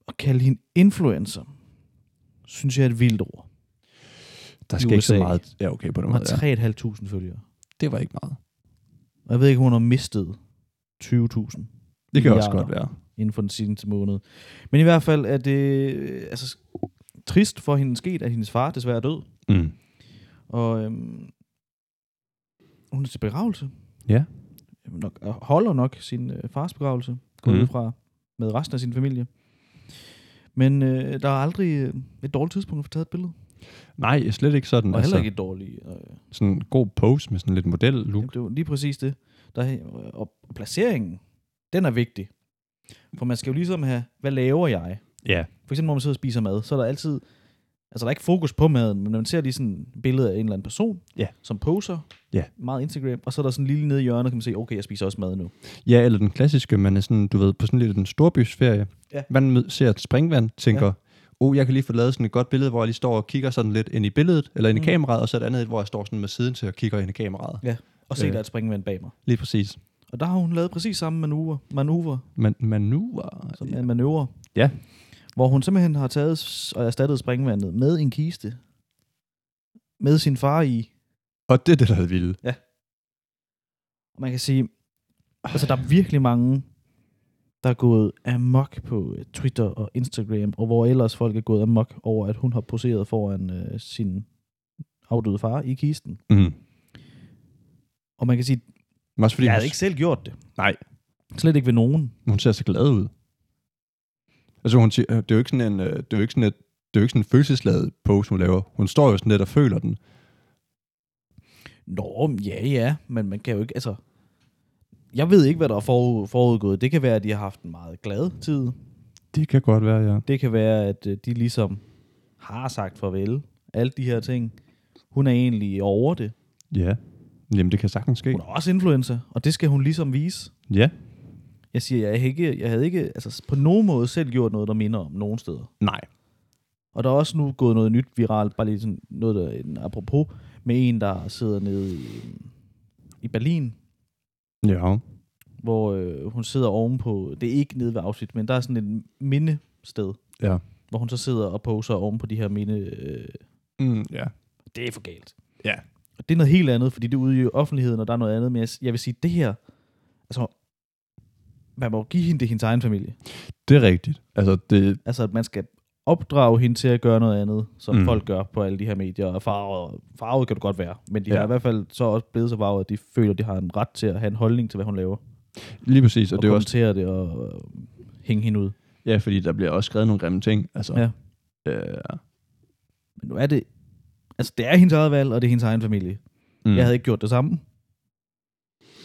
Og kalde hende influencer, synes jeg er et vildt ord. der I skal ikke så USA. meget... Ja, okay, på den Hun har måde. Ja. 3.500 følgere. Det var ikke meget. Og jeg ved ikke, hun har mistet 20.000 Det kan også Milliarder. godt være. inden for den seneste måned. Men i hvert fald er det øh, altså, trist for hende sket, at hendes far desværre er død. Mm. Og øhm, hun er til begravelse. Ja. Jamen Nok, og holder nok sin øh, fars begravelse, går Mhm. mm. fra med resten af sin familie. Men øh, der er aldrig øh, et dårligt tidspunkt at få taget et billede. Nej, slet ikke sådan. Og heller Altså, ikke et dårligt. Øh, Sådan en god pose med sådan lidt jamen, model-look. det var lige præcis det. Der, er- øh, og placeringen, den er vigtig. For man skal jo ligesom have, hvad laver jeg? Ja. For eksempel, når man sidder og spiser mad, så er der altid... Altså, der er ikke fokus på maden, men når man ser lige sådan et billede af en eller anden person, Ja. som poser, Ja. meget Instagram, og så er der sådan en lille nede i hjørnet, kan man se, okay, jeg spiser også mad nu. ja, eller den klassiske, man er sådan, du ved, på sådan lidt en storbysferie. Ja. Man mød- ser et springvand, tænker, oh, jeg kan lige få lavet sådan et godt billede, hvor jeg lige står og kigger sådan lidt ind i billedet, eller ind i Mm. kameraet, og så et andet, et, hvor jeg står sådan med siden til og kigger ind i kameraet. Og se, Øh. der er et springvand bag mig. Lige præcis. Og der har hun lavet præcis samme manøvre, manøvre Man, manøvrer. som ja. manøvre. Ja. Hvor hun simpelthen har taget s- og erstattet springvandet med en kiste. Med sin far i. Og det er det, der er det vilde. Og man kan sige, altså der er virkelig mange, der er gået amok på øh, Twitter og Instagram, og hvor ellers folk er gået amok over, at hun har poseret foran øh, sin afdøde far i kisten. Mm. Og man kan sige, Men også fordi, jeg hun, havde ikke selv gjort det. Nej. Slet ikke ved nogen. hun ser så glad ud. Altså, hun siger, det er jo ikke sådan en, øh, det er jo ikke sådan et, det er jo ikke sådan en følelsesladet pose, hun laver. Hun står jo sådan lidt og føler den. Nå, men ja, ja, men man kan jo ikke, altså... Jeg ved ikke, hvad der er forud, forudgået. Det kan være, at de har haft en meget glad tid. Det kan godt være, ja. Det kan være, at øh, de ligesom har sagt farvel. Alle de her ting. Hun er egentlig over det. Ja. Jamen, det kan sagtens ske. Hun er også influencer, og det skal hun ligesom vise. Ja. Jeg siger, jeg havde ikke, jeg havde ikke altså, på nogen måde selv gjort noget, der minder om nogen steder. Nej. Og der er også nu gået noget nyt viralt, bare lige sådan noget, der en apropos, med en, der sidder nede i, i Berlin, Ja. hvor øh, hun sidder ovenpå, det er ikke nede ved Auschwitz, men der er sådan et mindested, Ja. hvor hun så sidder og poser oven på de her minde. Øh, Mm, ja. det er for galt. Ja. Og det er noget helt andet, fordi det er ude i offentligheden, og der er noget andet. Men jeg, jeg vil sige, det her, altså, man må jo give hende det i hendes egen familie. Det er rigtigt. Altså, det, Altså, at man skal opdrage hende til at gøre noget andet, som Mm. mm. folk gør på alle de her medier. Og farvet, farvet kan du godt være, men de Ja. ja. har i hvert fald så også blevet så farvet, at de føler, at de har en ret til at have en holdning til, hvad hun laver. lige præcis, og, og det er også, kommentere det og øh, hænge hende ud. ja, fordi der bliver også skrevet nogle grimme ting. Altså, Ja. Øh, Men nu er det... Altså, det er hendes eget valg, og det er hendes egen familie. mm. Mm. Jeg havde ikke gjort det samme.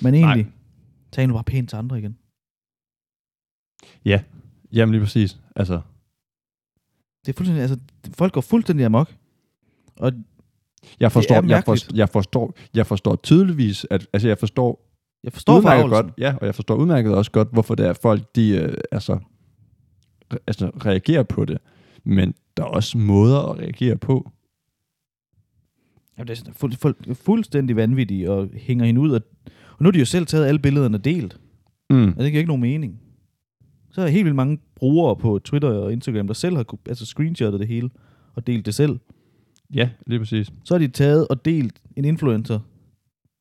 Men egentlig, Nej. tag nu bare pænt til andre igen. Jamen lige præcis. Altså, Det er fuldstændig, altså, folk går fuldstændig amok. Og jeg forstår, jeg, mærkeligt. forstår, jeg, forstår, jeg forstår tydeligvis, at altså, jeg forstår jeg forstår udmærket farvelsen. godt, ja, og jeg forstår udmærket også godt, hvorfor det er, at folk de, øh, altså, re- altså, reagerer på det. Men der er også måder at reagere på. Jamen, det er sådan fuld, fuld, fuldstændig vanvittigt og hænger hende ud. Og, og nu er de jo selv taget alle billederne og delt. Mm. Ja, det giver ikke nogen mening. Så er der helt vildt mange brugere på Twitter og Instagram, der selv har kunne- altså, screenshotet det hele og delt det selv. Ja, lige præcis. Så har de taget og delt en influencer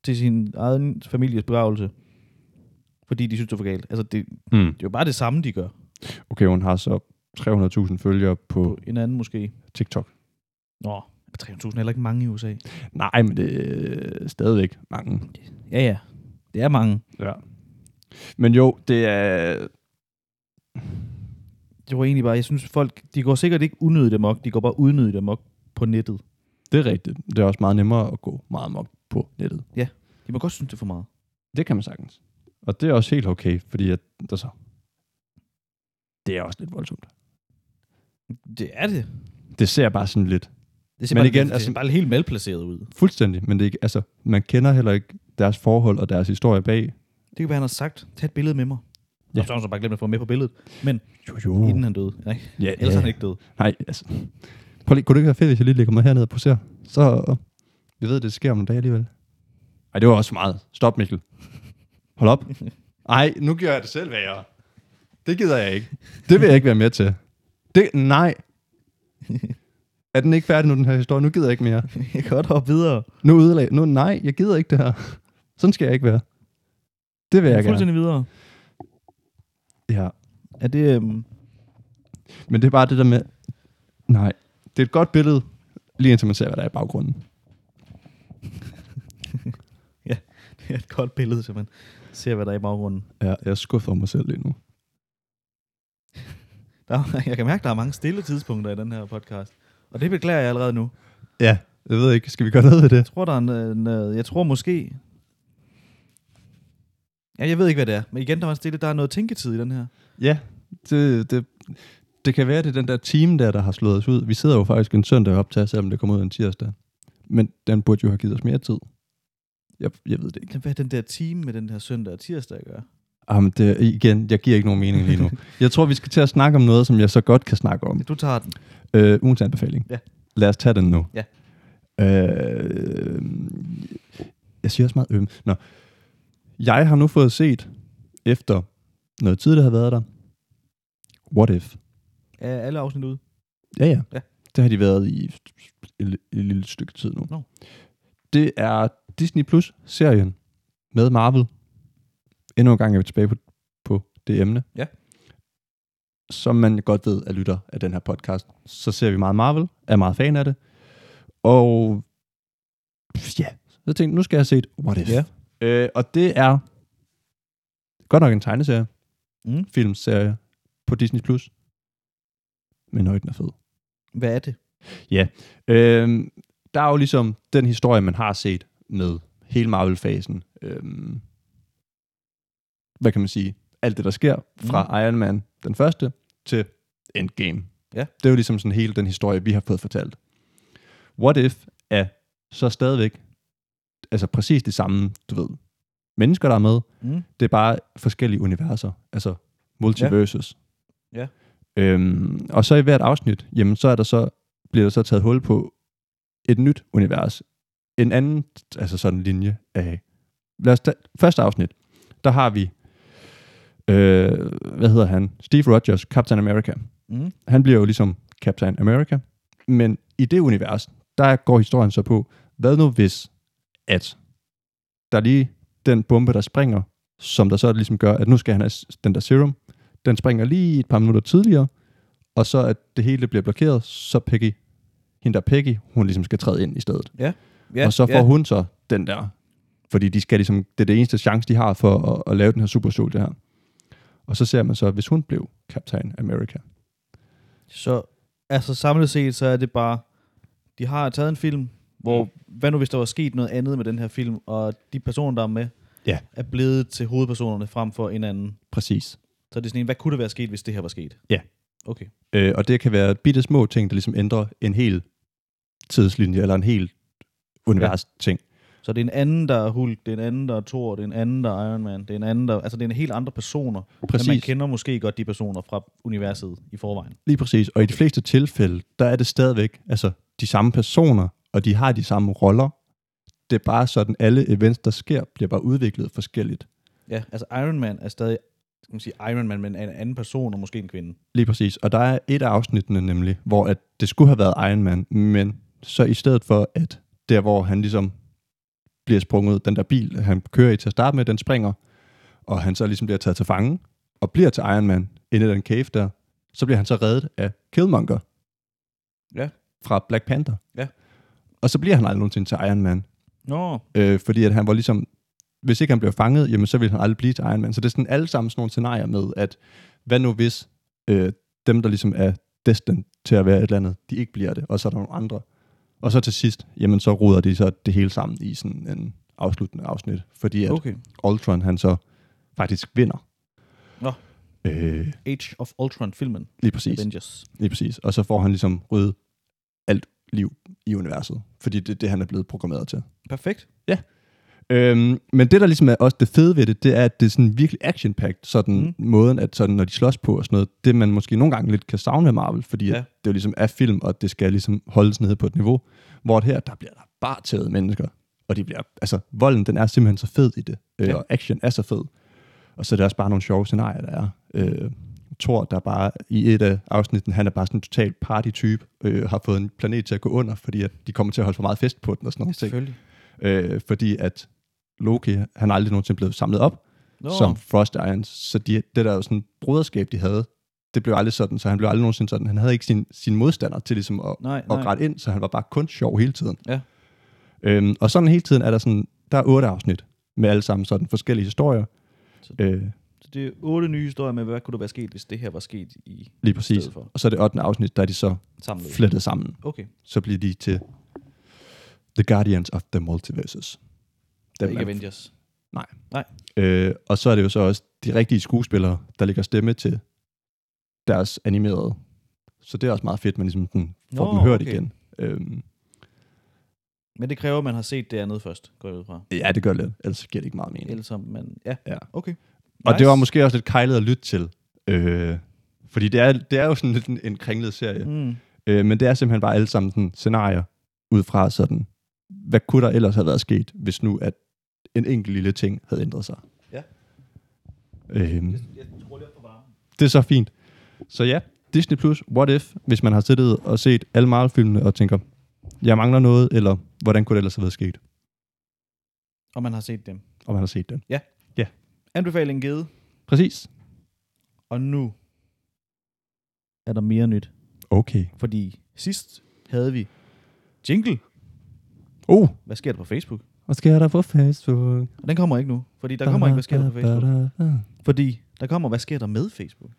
til sin egen families begravelse, fordi de synes, det er for galt. Altså, det, det Mm. er jo bare det samme, de gør Okay, hun har så 300.000 følgere på på en anden måske. TikTok. Nå, 300.000 er heller ikke mange i USA. Nej, men det er stadigvæk mange. Ja, ja. Det er mange. Ja. Men jo, det er... Det var egentlig bare, jeg synes folk, de går sikkert ikke unødigt amok, de går bare unødigt amok på nettet. Det er rigtigt. Det er også meget nemmere at gå meget mok på nettet. De må godt synes, det er for meget. Det kan man sagtens. Og det er også helt okay, fordi at, der så, det er også lidt voldsomt. Det er det. Det ser bare sådan lidt Det ser, Men bare, igen, igen, det, altså, altså- ser bare helt malplaceret ud. fuldstændig, men det er ikke, altså, man kender heller ikke deres forhold og deres historie bag. Det kan være, han har sagt, tag et billede med mig. Ja. Ja. Og så har han så bare glemt at få ham med på billedet, Jo, uh. jo. inden han døde. Nej, Ja, ellers er han ja. ikke død. Nej, altså. Prøv lige, kunne det ikke være fedt, hvis jeg lige lægger mig hernede og poserer? Så, vi ved, det sker om en dag alligevel. Ej, det var også for meget. Stop, Mikkel. Hold op. Ej, nu gør jeg det selv værre. Det gider jeg ikke. Det vil jeg ikke være med til. Det, nej. Er den ikke færdig nu, den her historie? Nu gider jeg ikke mere. jeg kan godt hoppe videre. Nu ødelag. Nu, nej, jeg gider ikke det her. Sådan skal jeg ikke være. Det vil jeg gerne. Fuldstændig videre. Ja. Er det, øhm, Men det er bare det der med, nej, det er et godt billede, lige indtil man ser, hvad der er i baggrunden. det er et godt billede, så man ser, hvad der er i baggrunden. Ja, jeg er skuffet over mig selv lige nu. Der, er- jeg kan mærke, der er mange stille tidspunkter i den her podcast. Og det beklager jeg allerede nu. Ja, jeg ved ikke, skal vi gøre noget ved det? Jeg tror, der er en, øh, en, øh, jeg tror måske... Ja, jeg ved ikke, hvad det er. Men igen, der var stille, der er noget tænketid i den her. Ja, det, det, det kan være, det er den der time der, der har slået os ud. Vi sidder jo faktisk en søndag op til, selvom det kommer ud en tirsdag. Men den burde jo have givet os mere tid. Jeg, jeg ved det ikke. Kan være den der time med den her søndag og tirsdag gør. Jamen, det, igen, jeg giver ikke nogen mening lige nu. Jeg tror, vi skal til at snakke om noget, som jeg så godt kan snakke om. Du tager den. Øh, ugens anbefaling. Ja. Lad os tage den nu. Ja. Øh, jeg siger også meget øm. Nå. Jeg har nu fået set, efter noget tid, der har været der, What If. Er alle afsnit ude? Ja, ja. Ja. Det har de været i et, et lille stykke tid nu. Nå. Det er Disney Plus-serien med Marvel. Endnu en gang er vi tilbage på, på det emne. Ja. Som man godt ved er lytter af den her podcast, så ser vi meget Marvel, er meget fan af det. Og ja, så tænkte jeg, nu skal jeg se et What If. Ja. Øh, og det er godt nok en tegneserie, Mm. filmserie på Disney Plus. Men højden er fed. Hvad er det? Øhm, der er jo ligesom den historie, man har set med hele Marvel-fasen. Øhm, hvad kan man sige? Alt det, der sker fra mm. Iron Man den første til Endgame. Ja. Det er jo ligesom sådan hele den historie, vi har fået fortalt. What If er så stadigvæk altså præcis det samme, du ved, mennesker, der er med. Mm. Det er bare forskellige universer, altså multiverses. Ja. Øhm, og så i hvert afsnit, jamen så er der så, bliver der så taget hul på et nyt univers. En anden, altså sådan linje af... Lad os tage, første afsnit, der har vi, øh, hvad hedder han? Steve Rogers, Captain America. Mm. Han bliver jo ligesom Captain America. Men i det univers, der går historien så på, hvad nu hvis, at der er lige den bombe, der springer, som der så ligesom gør, at nu skal han have s- den der serum, den springer lige et par minutter tidligere, og så at det hele bliver blokeret, så Peggy, hende der Peggy, hun ligesom skal træde ind i stedet. Ja, og så får ja. hun så den der, fordi de skal ligesom, det er det eneste chance, de har for at, at lave den her super soldier her. Og så ser man så, hvis hun blev Captain America. Så altså samlet set, så er det bare, de har taget en film, hvor, Mm. hvad nu hvis der var sket noget andet med den her film, og de personer, der er med, Ja. er blevet til hovedpersonerne frem for en anden. Præcis. Så er det sådan en, hvad kunne der være sket, hvis det her var sket? Ja. Okay. Øh, og det kan være bitte små ting, der ligesom ændrer en hel tidslinje, eller en hel univers ting. Så det er en anden, der er Hulk, det er en anden, der er Thor, det er en anden, der er Iron Man, det er en anden, der... Altså, det er en helt andre personer. Præcis. Men man kender måske godt de personer fra universet i forvejen. Lige præcis. Og i de fleste tilfælde, der er det stadigvæk altså, de samme personer, og de har de samme roller. Det er bare sådan, alle events, der sker, bliver bare udviklet forskelligt. Ja, altså Iron Man er stadig, skal man sige Iron Man, men er en anden person og måske en kvinde. Lige præcis. Og der er et af afsnittene nemlig, hvor at det skulle have været Iron Man, men så i stedet for, at der hvor han ligesom bliver sprunget, den der bil, han kører i til at starte med, den springer, og han så ligesom bliver taget til fange, og bliver til Iron Man inde i den cave der, så bliver han så reddet af Killmonger. Ja. Fra Black Panther. Ja. Og så bliver han aldrig nogensinde til Iron Man, Nå, øh, fordi at han var ligesom, hvis ikke han blev fanget, jamen så ville han aldrig blive til Iron Man. Så det er sådan alle sammen sådan nogle scenarier med, at hvad nu hvis øh, dem, der ligesom er destined til at være et eller andet, de ikke bliver det, og så er der nogle andre. Og så til sidst, jamen så ruder de så det hele sammen i sådan en afsluttende afsnit, fordi at okay. okay. Ultron han så faktisk vinder. Nå. Øh, Age of Ultron-filmen, lige præcis. Avengers. Lige præcis. Og så får han ligesom ryddet alt liv i universet, fordi det er det, han er blevet programmeret til. Perfekt. Øhm, men det, der ligesom er også det fede ved det, det er, at det er sådan virkelig action sådan mm. måden, at sådan, når de slås på og sådan noget, det man måske nogle gange lidt kan savne af Marvel, fordi ja. Ja. at det jo ligesom er film, og det skal ligesom holdes nede på et niveau, hvor her, der bliver der bare taget mennesker, og de bliver, altså volden, den er simpelthen så fed i det, øh, Ja. og action er så fed, og så er der også bare nogle sjove scenarier, der er. Øh, Thor, der bare i et af afsnitten, han er bare sådan en total party-type, øh, har fået en planet til at gå under, fordi at de kommer til at holde for meget fest på den og sådan noget. Selvfølgelig. Øh, fordi at Loki, han er aldrig nogensinde blevet samlet op Nå, som Frost Irons. Så de, det der jo sådan broderskab, de havde, det blev aldrig sådan, så han blev aldrig nogensinde sådan. Han havde ikke sin, sin modstander til ligesom at, nej, at nej. græde ind, så han var bare kun sjov hele tiden. Ja. Øhm, og sådan hele tiden er der sådan, der er otte afsnit med alle sammen sådan forskellige historier. Så- Øh, Så det er otte nye historier med, hvad kunne der være sket, hvis det her var sket i lige præcis. stedet for Og så er det 8. afsnit, der er de så samlet. flettet sammen. Okay. Så bliver de til The Guardians of the Multiverses. Det er Dem, ikke man Avengers. Øh, og så er det jo så også de rigtige skuespillere, der lægger stemme til deres animerede. Så det er også meget fedt, man ligesom den, får Nå, Nå, dem hørt okay. okay. igen. Øhm, Men det kræver, at man har set det andet først, går jeg ud fra. ja, det gør lidt, ellers giver det ikke meget mening. Ellers som man... Ja, Ja. okay. Og det var måske også lidt kejlet at lytte til. Øh, fordi det er, det er jo sådan lidt en, en kringlet serie. Mm. Mm. Øh, men det er simpelthen bare alle sammen sådan, scenarier ud fra sådan, hvad kunne der ellers have været sket, hvis nu at en enkelt lille ting havde ændret sig. Ja. Øhm, Jeg tror lige på varmen. Det er så fint. Så ja, Disney Plus, What If, hvis man har siddet og set alle Marvel-filmene og tænker, jeg mangler noget, eller hvordan kunne det ellers have været sket, Og man har set dem. og man har set den. Anbefaling givet. Præcis. Og nu er der mere nyt. Okay. Fordi sidst havde vi jingle. Oh, Hvad sker der på Facebook? hvad sker der på Facebook? Og den kommer ikke nu. Fordi der kommer ikke, hvad sker der på Facebook. Fordi der kommer, hvad sker der med Facebook?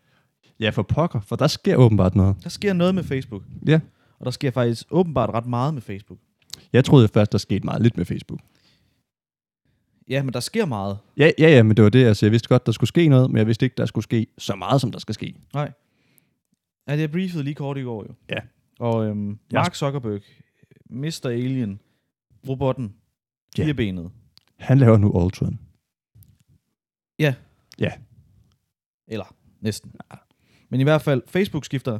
Ja, for pokker, for der sker åbenbart noget. Der sker noget med Facebook. Ja. Og der sker faktisk åbenbart ret meget med Facebook. Jeg troede først, der skete meget lidt med Facebook. Ja, men der sker meget. Ja, ja, ja, men det var det, altså, jeg vidste godt, der skulle ske noget, men jeg vidste ikke, der skulle ske så meget, som der skal ske. Ja, jeg briefede lige kort i går jo. Ja. Og øhm, Mark Zuckerberg, Mr. Alien, robotten, Ja. firebenet, Han laver nu Ultron. Ja. Ja. Eller næsten. Men i hvert fald, Facebook skifter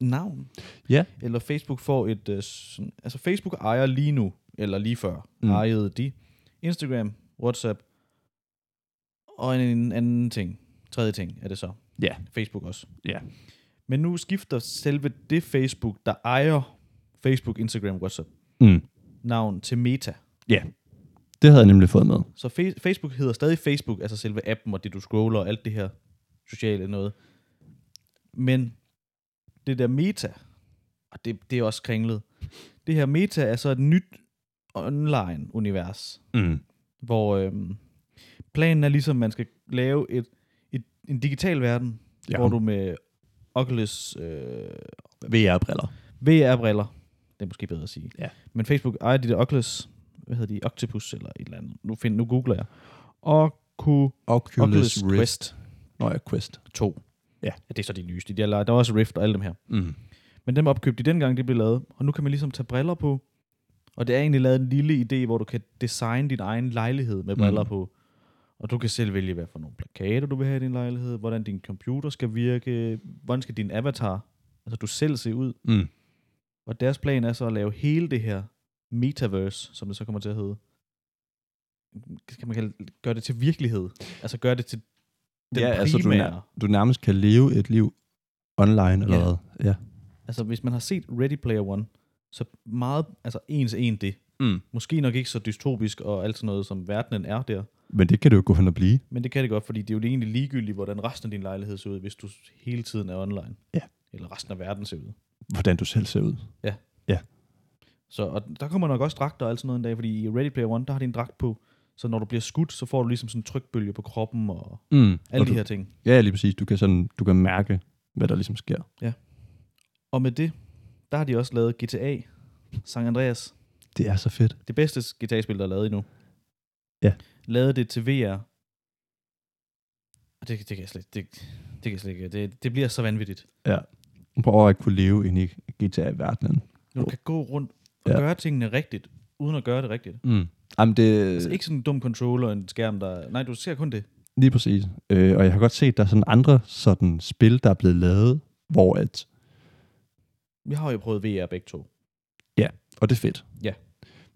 navn. Ja. Eller Facebook får et... Øh, sådan, altså Facebook ejer lige nu, eller lige før, Mm. mm. ejede de Instagram, WhatsApp og en, en anden ting. Tredje ting er det så. Ja. Facebook også. Ja. Men nu skifter selve det Facebook, der ejer Facebook, Instagram, WhatsApp, Mm. navn til Meta. Det havde jeg nemlig fået med. Så fe- Facebook hedder stadig Facebook, altså selve appen og det, du scroller og alt det her sociale noget. Men det der meta, og det, det er også kringlet, det her meta er så et nyt online-univers, Mm. hvor øhm, planen er ligesom, at man skal lave et, et, en digital verden, Ja. ja. hvor du med Oculus øh, VR-briller. VR-briller, det er måske bedre at sige. Ja. Men Facebook ejer de der Oculus, hvad hedder de, Octopus eller et eller andet. Nu, find, nu googler jeg. Ocu, Oculus, Oculus Rift. Quest. Quest Nå ja, Quest. 2. Ja. ja. det er så de nyeste. De har, lavet- der var også Rift og alle dem her. Mm. Men dem opkøbte de dengang, de blev lavet. Og nu kan man ligesom tage briller på. Og det er egentlig lavet en lille idé, hvor du kan designe din egen lejlighed med Mm. briller på. Og du kan selv vælge, hvad for nogle plakater du vil have i din lejlighed, hvordan din computer skal virke, hvordan skal din avatar, altså du selv se ud. Mm. Og deres plan er så at lave hele det her metaverse, som det så kommer til at hedde. Kan man kalde, gøre det til virkelighed? Altså gøre det til den ja, primære. altså, du, Altså, nær, du nærmest kan leve et liv online eller Ja. hvad. Ja. altså hvis man har set Ready Player One, så meget, altså en til en det. Mm. Måske nok ikke så dystopisk og alt sådan noget, som verdenen er der. Men det kan det jo gå hen og blive. Men det kan det godt, fordi det er jo egentlig ligegyldigt, hvordan resten af din lejlighed ser ud, hvis du hele tiden er online. Ja. Eller resten af verden ser ud. Hvordan du selv ser ud. Så og der kommer nok også dragter og alt sådan noget en dag, fordi i Ready Player One, der har de en dragt på, så når du bliver skudt, så får du ligesom sådan en trykbølge på kroppen og Mm. alle de her ting. Ja, lige præcis. Du kan, sådan, du kan mærke, hvad der ligesom sker. Og med det, der har de også lavet GTA San Andreas. Det er så fedt. Det bedste GTA-spil, der er lavet endnu. Ja. Lavet det til VR. Og det, det kan jeg slet, det, det kan jeg slet ikke. Det, det bliver så vanvittigt. Prøv at kunne leve inde i GTA-verdenen. Når du kan gå rundt og Ja. ja. Øh. gøre tingene rigtigt, uden at gøre det rigtigt. Mm. Jamen, det... Altså ikke sådan en dum controller og en skærm, der... Nej, du ser kun det. Lige præcis. Øh, og jeg har godt set, der er sådan andre sådan spil, der er blevet lavet, hvor at, Vi har jo prøvet VR begge to. og det er fedt. Ja.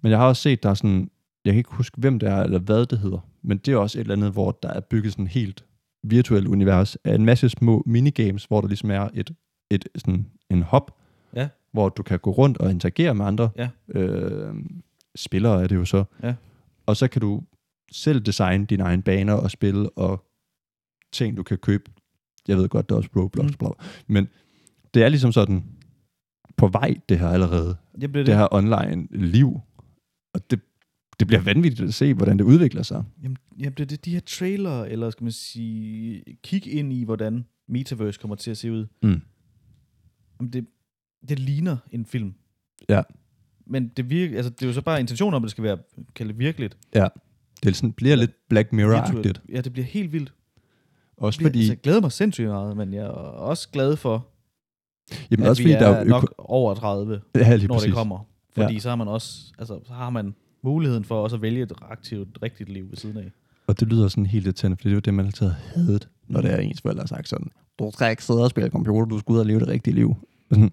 Men jeg har også set, der er sådan, jeg kan ikke huske, hvem det er, eller hvad det hedder, men det er også et eller andet, hvor der er bygget sådan et helt virtuelt univers af en masse små minigames, hvor der ligesom er et, et sådan en hop, Ja. hvor du kan gå rundt og interagere med andre Ja. øh, spillere, er det jo så. Ja. Og så kan du selv designe dine egne baner og spil og ting, du kan købe. Jeg ved godt, der er også Roblox, Mm. mm. bla, bla. men det er ligesom sådan på vej, det her allerede Jeg bliver det. det her online liv. Og det, det bliver vanvittigt at se, hvordan det udvikler sig. Jamen, jamen det, det de her trailer, eller skal man sige, kig ind i, hvordan Metaverse kommer til at se ud. Mm. Jamen, det, det ligner en film. Ja. Men det, virker, altså, det er jo så bare intentionen om, at det skal være kaldet virkeligt. Det sådan, bliver lidt Black Virtuelt. Mirror-agtigt. Ja, det bliver helt vildt. Også Fordi... fordi, Altså, jeg glæder mig sindssygt meget, men jeg er også glad for, jamen, at også vi fordi er der er jo øko- nok over 30, ja, lige når det præcis. kommer. Fordi ja. så har man også, altså, så har man muligheden for også at vælge et aktivt, rigtigt liv ved siden af. Og det lyder sådan helt irriterende, fordi det er jo det, man altid har hadet, når det er ens forældre har sagt sådan, du skal ikke sidde og spille computer, du skal ud og leve det rigtige liv. Sådan,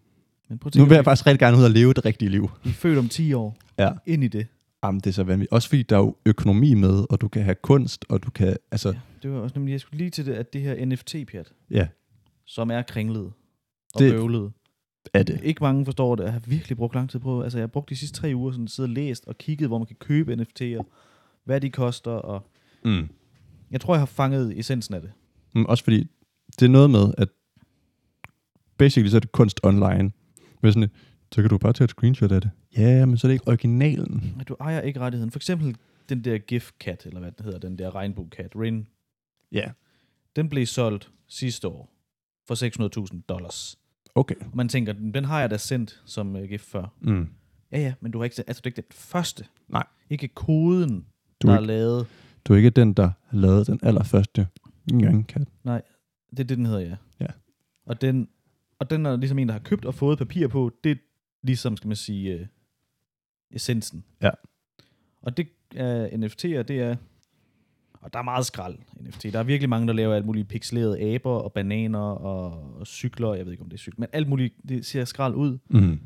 Men prøv at nu tænke, vil jeg bare... faktisk rigtig gerne ud og leve det rigtige liv. vi er født om 10 år Ja. ind i det. Jamen, det er så vanvittigt. Også fordi der er jo økonomi med, og du kan have kunst, og du kan, altså, Ja, det var også nemlig, jeg skulle lige til det, at det her NFT-pjat, ja, som er kringlet og Det- det... bøvlet. er det. Ikke mange forstår det. Jeg har virkelig brugt lang tid på. Altså, jeg har brugt de sidste tre uger sådan siddet og læst og kigget, hvor man kan købe NFT'er, hvad de koster, og Mm. jeg tror, jeg har fanget essensen af det. Mm, også fordi, det er noget med, at basically så er det kunst online. Men sådan, et, så kan du bare tage et screenshot af det. Ja, men så er det ikke originalen. At du ejer ikke rettigheden. For eksempel den der GIF-kat, eller hvad den hedder, den der regnbue-kat, Rin, Ja. den blev solgt sidste år for 600.000 dollars. Okay. Og man tænker, den den har jeg da sendt som øh, GIF før. Mm. Ja, ja, men du har ikke, sendt- altså, det er ikke den første. Nej. Ikke koden, Du, der er er ikke, lavet. du er ikke den, der lavede den allerførste Young-kat. Det er det, den hedder, ja. Ja. Og den, og den er ligesom en, der har købt og fået papir på. Det er ligesom, skal man sige, øh, essensen. øh, Ja. Og det er NFT'er, det er... Og der er meget skrald NFT. Der er virkelig mange, der laver alt muligt pixelerede aber og bananer og, og cykler. Jeg ved ikke, om det er cykler, men alt muligt det ser skrald ud. Mm.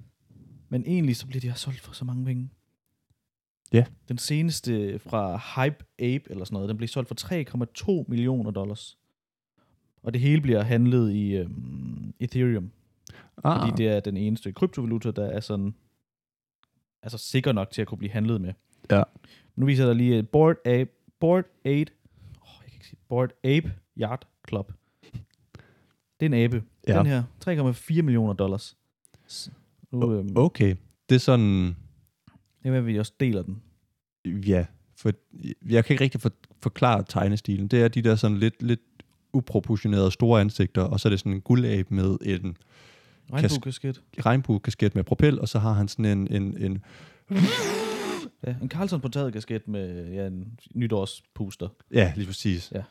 Men egentlig så bliver de her solgt for så mange penge. Ja. Den seneste fra Hype Ape eller sådan noget, den blev solgt for 3,2 millioner dollars. Og det hele bliver handlet i øhm, Ethereum, ah. fordi det er den eneste kryptovaluta, der er sådan altså sikker nok til at kunne blive handlet med. Ja. Nu viser der lige øh, Board Ape, Board Ape, oh, jeg kan ikke sige, Board Ape Yard Club. Det er en abe. Ja. Ja. Den her, 3,4 millioner dollars. S- Nu, øhm, Okay, det er sådan... Det er, hvad vi også deler den. Ja, for jeg kan ikke rigtig for, forklare tegnestilen. Det er de der sådan lidt, lidt uproportionerede store ansigter, og så er det sådan en guldabe med en Regnbuekasket. regnbuekasket med propel, og så har han sådan en, en, en Ja, en Carlson på taget kasket med ja, en nytårspuster. ja, lige præcis, Ja.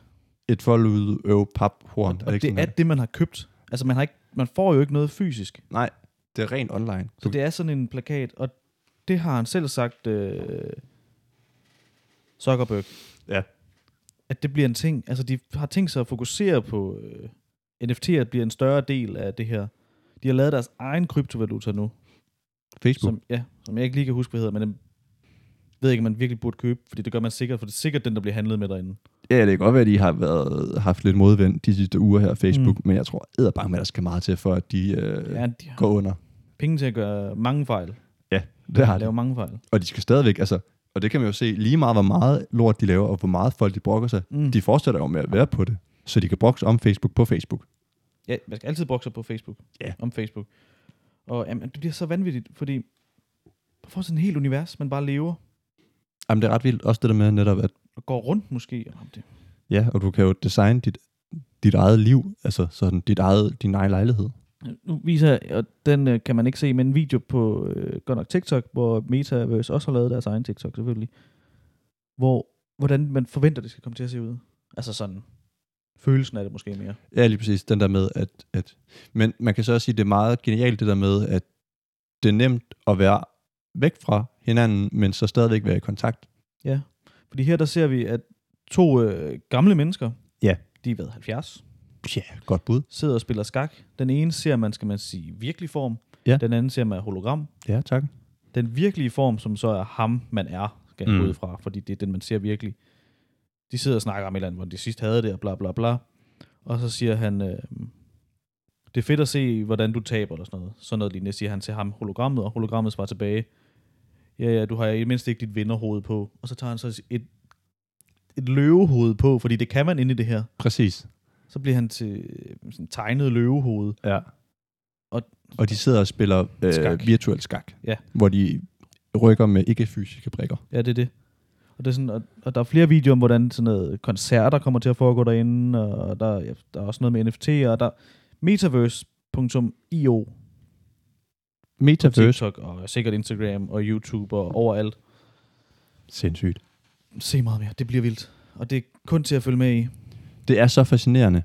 et foldet øv paphorn. Og ikke det er sådan, det, man har købt. Altså, man, har ikke, man får jo ikke noget fysisk. Nej, det er rent online. Så Du, det er sådan en plakat, og det har han selv sagt, øh, Zuckerberg, ja. at det bliver en ting. Altså, de har tænkt sig at fokusere på øh, NFT'er, bliver en større del af det her. De har lavet deres egen kryptovaluta nu, Facebook. som, ja, som jeg ikke lige kan huske, hvad hedder, men den ved ikke, om man virkelig burde købe, fordi det gør man sikkert, for det er sikkert den, der bliver handlet med derinde. Ja, det kan godt være, at de har været, haft lidt modvind de sidste uger her Facebook, Facebook, mm. men jeg tror æderbange, at der skal meget til, for at de øh, ja. Ja, de har går under. penge til at gøre mange fejl. Ja, det har de. Lave mange fejl. Og de skal stadigvæk, altså, og det kan man jo se, lige meget hvor meget lort de laver, og hvor meget folk de brokker sig, mm. Mm. de fortsætter jo med at være på det, så de kan brokse om Facebook på Facebook. Ja, man skal altid brokke sig på Facebook. Ja. Om Facebook. Og jamen, det bliver så vanvittigt, fordi man får sådan et helt univers, man bare lever Jamen, det er ret vildt også det der med netop, at og går rundt måske. Jamen, det, ja, og du kan jo designe dit, dit eget liv, altså sådan dit eget, din egen lejlighed. nu viser jeg, og den øh, kan man ikke se, men en video på øh, godt nok TikTok, hvor Metaverse også har lavet deres egen TikTok selvfølgelig, hvor hvordan man forventer, det skal komme til at se ud. Altså sådan følelsen af det måske mere. Ja, lige præcis, den der med, at, at men man kan så også sige, at det er meget genialt det der med, at det er nemt at være væk fra hinanden, men så stadigvæk være i kontakt. Fordi her der ser vi, at to øh, gamle mennesker, Ja. de er ved 70, Ja, godt bud. sidder og spiller skak. Den ene ser man, skal man sige, virkelig form. Ja. Den anden ser man er hologram. Ja, tak. Den virkelige form, som så er ham, man er, skal Mm. mm. ud fra, fordi det er den, man ser virkelig. De sidder og snakker om et eller andet, hvor de sidst havde det, og bla bla bla. Og så siger han, øh, det er fedt at se, hvordan du taber, eller sådan noget. Sådan noget lignende, siger han til ham, hologrammet, og hologrammet svarer tilbage, ja, ja, du har i det mindste ikke dit vinderhoved på. Og så tager han så et, et løvehoved på, fordi det kan man inde i det her. Præcis. Så bliver han til øh, sådan tegnet løvehoved. Ja. Og, Og- og de sidder og spiller øh, skak. Skak. virtuel skak, Ja. hvor de rykker med ikke-fysiske brikker. Ja, det er det. Og, det er sådan, og, og der er flere videoer om, hvordan sådan noget koncerter kommer til at foregå derinde, og der, ja, der er også noget med NFT'er, og der metaverse.io på Metaverse. TikTok, og sikkert Instagram og YouTube og overalt. Sindssygt. Se meget mere, det bliver vildt. Og det er kun til at følge med i. Det er så fascinerende.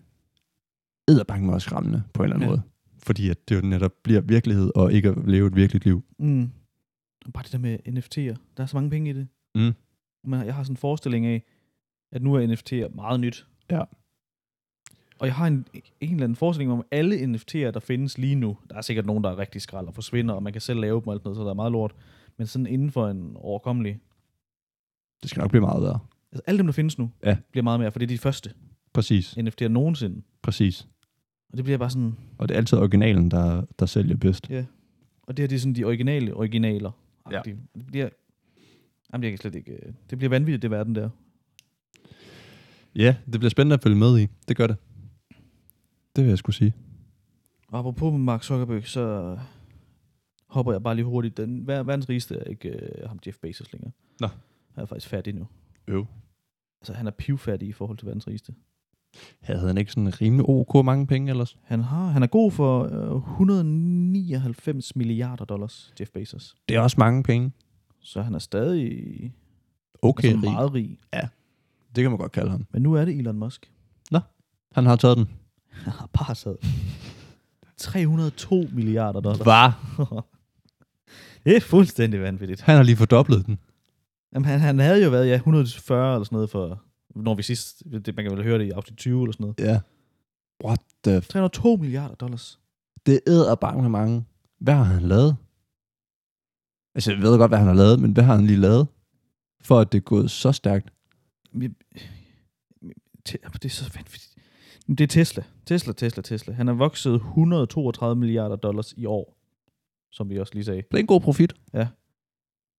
Edderbange var også skræmmende på en eller anden ja. Ja. måde. Fordi at det jo netop bliver virkelighed, og ikke at leve et virkeligt liv. Mm. Og Bare det der med NFT'er, der er så mange penge i det. Mm. Men jeg har sådan en forestilling af, at nu er NFT'er meget nyt. Ja. Og jeg har en, en eller anden forestilling om, at alle NFT'er, der findes lige nu, der er sikkert nogen, der er rigtig skrald og forsvinder, og man kan selv lave dem og alt noget, så der er meget lort. Men sådan inden for en overkommelig... Det skal nok blive meget værre. Altså alle dem, der findes nu, Ja. bliver meget mere, for det er de første Præcis. NFT'er nogensinde. Præcis. Og det bliver bare sådan... Og det er altid originalen, der, der sælger bedst. Og det her, det er sådan de originale originaler. Ja. Det bliver... Jamen, jeg kan slet ikke... øh, Det bliver vanvittigt, det verden der. Ja, det bliver spændende at følge med i. Det gør det. Det vil jeg skulle sige. Og apropos med Mark Zuckerberg, så hopper jeg bare lige hurtigt. Den ver- verdens rigeste er ikke øh, ham Jeff Bezos længere. Nå. Han er faktisk fattig nu. Øv. Altså, han er pivfattig i forhold til verdens rigeste. Havde han ikke sådan rimelig ok mange penge ellers? Han, har, han er god for øh, 199 milliarder dollars, Jeff Bezos. Det er også mange penge. Så han er stadig Okay, altså, rig. meget rig. Det kan man godt kalde ham. Men nu er det Elon Musk. Han har taget den. Han har bare sad. 302 milliarder dollars. Var. det er fuldstændig vanvittigt. Han har lige fordoblet den. Jamen, han, han havde jo været, ja, 140 eller sådan noget for Når vi sidst, det, man kan vel høre det i afsnit 20 eller sådan noget. Ja. What the... F- 302 milliarder dollars. det æder bange med mange. Hvad har han lavet? Altså, jeg ved godt, hvad han har lavet, men hvad har han lige lavet? For at det er gået så stærkt. Vi- Te- Det er så vanvittigt. Men Det er Tesla. Tesla, Tesla, Tesla. Han har vokset 132 milliarder dollars i år, som vi også lige sagde. Det er en god profit.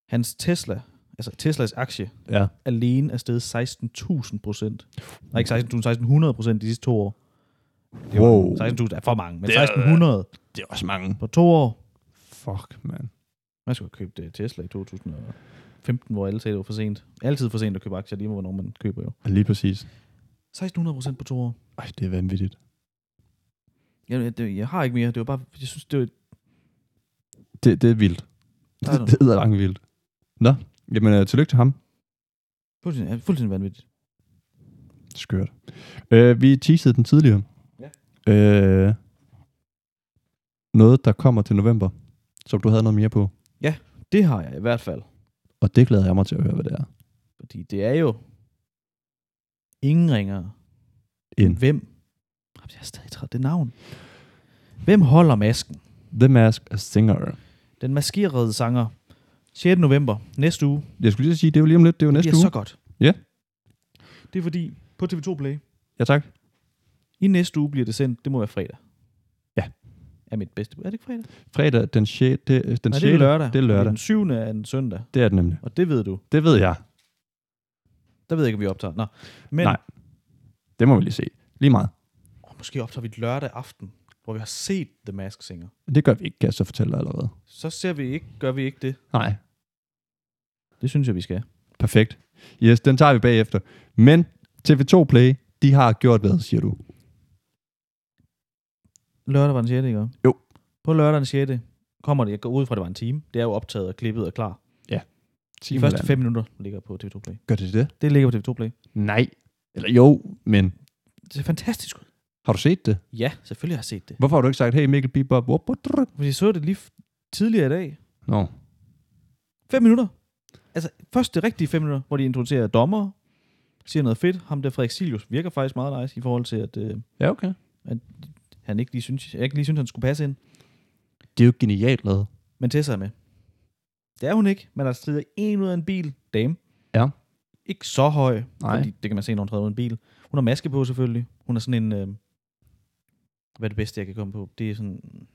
Hans Tesla, altså Teslas aktie, Ja. alene er steget 16.000 procent. Nej, ikke 16.000, 1.600 procent de sidste to år. Det er Wow. 16.000 er for mange, men Det er- 1.600 Det er også mange. på to år. Fuck, man. Man skulle have købt øh, Tesla i 2015, hvor alle sagde, det var for sent. Altid for sent at købe aktier, lige med, hvornår man køber jo. Lige præcis. 1.600 procent på to år. Ej, det er vanvittigt. Jeg, jeg, det- jeg har ikke mere. Det var bare, jeg synes, det var... Det, det er vildt. Nej, nej. det er langt vildt. Nå, jamen øh, tillykke til ham. Fuldstændig, ja, fuldstændig vanvittigt. Skørt. Øh, vi teasede den tidligere. Ja. Øh, noget, der kommer til november, som du havde noget mere på. Det har jeg i hvert fald. Og det glæder jeg mig til at høre, hvad det er. Fordi det er jo ingen ringere. Mm. En. Hvem? Jamen, Jeg er stadig træt af det navn. Hvem holder masken? The Mask Singer. Den maskerede sanger. 6. november næste uge. Jeg skulle lige sige, det er jo lige om lidt, det er jo næste det er uge. så godt. Ja. Det er fordi på TV2 Play Ja, tak. i næste uge bliver det sendt. Det må være fredag. Ja. Er mit bedste bud. Er det ikke fredag? Fredag den 6. Den 6. Nej, det er lørdag. Det er fordi lørdag. Den 7. er en søndag. Det er det nemlig. Og det ved du. Det ved jeg. Der ved jeg ikke, om vi optager. Nå. Men Nej. Det må vi lige se. Lige meget. Og måske optager vi et lørdag aften, hvor vi har set The Mask Singer. Det gør vi ikke, kan jeg så fortælle dig allerede. Så ser vi ikke, gør vi ikke det. Nej. Det synes jeg, vi skal. Perfekt. Yes, den tager vi bagefter. Men TV2 Play, de har gjort hvad, siger du? Lørdag var den 6. ikke? Jo. På lørdag den 6. kommer det, jeg går ud fra, at det var en time. Det er jo optaget og klippet og klar. De første fem minutter ligger på TV2 Play. Gør det det? Det ligger på TV2 Play. Nej. Eller jo, men Det ser fantastisk ud. har du set det? Ja, selvfølgelig har jeg set det. Hvorfor har du ikke sagt, hey Mikkel Bibop, wop, wop, drrr? Fordi jeg så det lige f- tidligere i dag. Nå. Fem minutter. Altså, først det rigtige fem minutter, hvor de introducerer dommer, siger noget fedt. Ham der Frederik Silius virker faktisk meget nice i forhold til, at øh, Ja, okay. han ikke lige synes, jeg ikke lige synes, han skulle passe ind. Det er jo genialt lavet. Men Tessa er med. Det er hun ikke, men der strider en ud af en bil. Dame. Ja. Ikke så høj, Nej. fordi det kan man se, når hun træder ud af en bil. Hun har maske på selvfølgelig. Hun er sådan en... Øh, hvad er det bedste, jeg kan komme på? Det er sådan...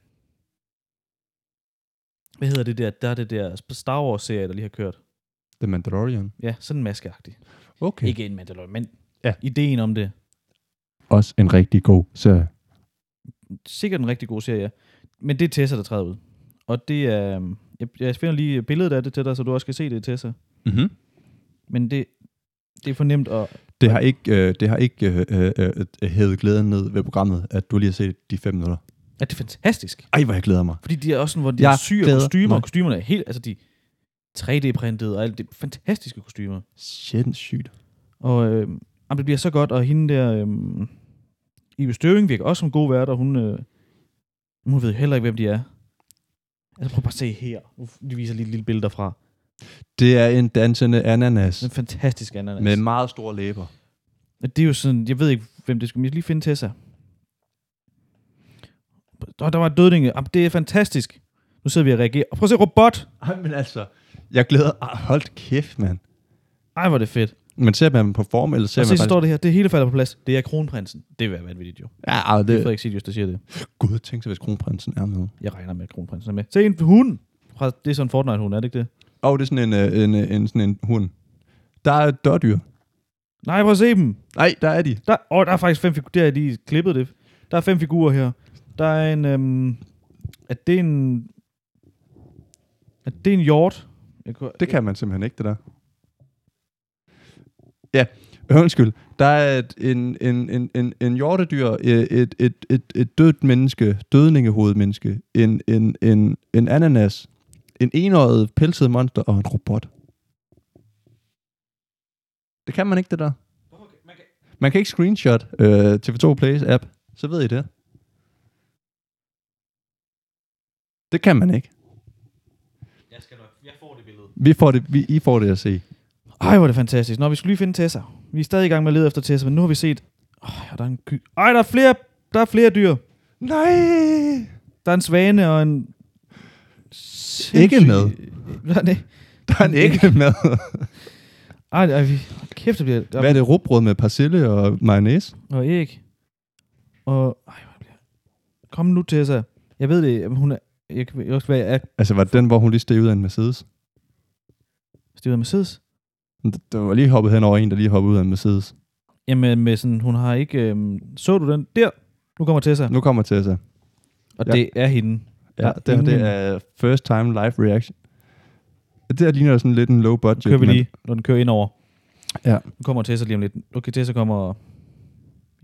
Hvad hedder det der? Der er det der Star Wars-serie, der lige har kørt. The Mandalorian. Ja, sådan maskeagtig. Okay. Okay. Ikke en Mandalorian, men Ja. ja. ideen om det. Også en rigtig god serie. Sikkert en rigtig god serie, ja. Men det er Tessa, der træder ud. Og det er... øhm, Jeg, jeg finder lige billedet af det til dig, så du også kan se det, Tessa. Mm-hmm. Men det, det er for nemt at... Det har ikke, øh, det har ikke øh, øh, øh, hævet glæden ned ved programmet, at du lige har set de fem minutter. Ja, det er fantastisk. Ej, hvor jeg glæder mig. Fordi de er også sådan, hvor de Jeg jeg syr glæder kostymer, mig. og kostymerne er helt... Altså, de 3D-printede og alt det. Fantastiske kostymer. Sindssygt. Og øh, jamen, det bliver så godt, og hende der... Øh, Ibe Støving virker også som god vært, og hun... Øh, hun ved jo heller ikke, hvem de er. Altså, prøv bare at se her. Nu de viser lige et lille billede derfra. Det er en dansende ananas Den fantastiske ananas. med meget store læber. Og det er jo sådan, jeg ved ikke, hvem det skulle, men jeg skal lige finde Tessa. Der, der var et dødninge. Jamen, det er fantastisk. Nu sidder vi og reagerer. Og prøv at se, robot! Ej, men altså, jeg glæder... Ej, hold kæft, mand. Ej, hvor er det fedt. Men ser man på form, eller ser Og man se, så står det her. Det hele falder på plads. Det er kronprinsen. Det vil være vanvittigt jo. Ja, ej, Det er det... Frederik Silius, der siger det. Gud, tænk sig, hvis kronprinsen er med. Jeg regner med, at kronprinsen er med. Se, en hund! Fra- Det er sådan en Fortnite-hund, er det ikke det? Og det er sådan en, øh, en, øh, en, sådan en hund. Der er et dørdyr. Nej, prøv at se dem. Nej, der er de. Der, åh, der er faktisk fem figurer. Der er lige klippet det. Der er fem figurer her. Der er en... Øhm, er det en... Er det en hjort? Jeg kunne, Det kan man simpelthen ikke, det der. Ja, øh, undskyld. Der er et, en, en, en, en, en hjortedyr, øh, et, et, et, et, et dødt menneske, dødningehovedmenneske, en, en, en, en ananas, en enøjet pelset monster og en robot. Det kan man ikke, det der. Man kan ikke screenshot øh, TV2 Plays app, så ved I det. Det kan man ikke. Jeg skal nok. Jeg får det billede. Vi får det, vi, I får det at se. Ej, hvor er det fantastisk. Nå, vi skulle lige finde Tessa. Vi er stadig i gang med at lede efter Tessa, men nu har vi set... Åh, oh, der er en ky... Ej, der er flere, der er flere dyr. Nej! Der er en svane og en... Ikke sindssyg- med. Nej, nej. Der er en ægge med. Ej, ej, vi... Hold kæft, det bliver... Der... Hvad er det? Rugbrød med persille og mayonnaise? Og æg. Og... Ej, hvor bliver... Kom nu, Tessa. Jeg ved det, men hun er... Jeg kan jeg kan også være, jeg er Altså, var det den, hvor hun lige steg ud af en Mercedes? styret af Mercedes. D- Der var lige hoppet hen over en, der lige hoppede ud af en Mercedes. Jamen, øh, med sådan, hun har ikke... Øhm, så du den? Der! Nu kommer Tessa. Nu kommer Tessa. Og Ja. det er hende. Ja, Der det, her, det ingen- er first time live reaction. Det her ligner sådan lidt en low budget. kører vi men lige, når den kører ind over. Ja. Nu kommer Tessa lige om lidt. Okay, Tessa kommer...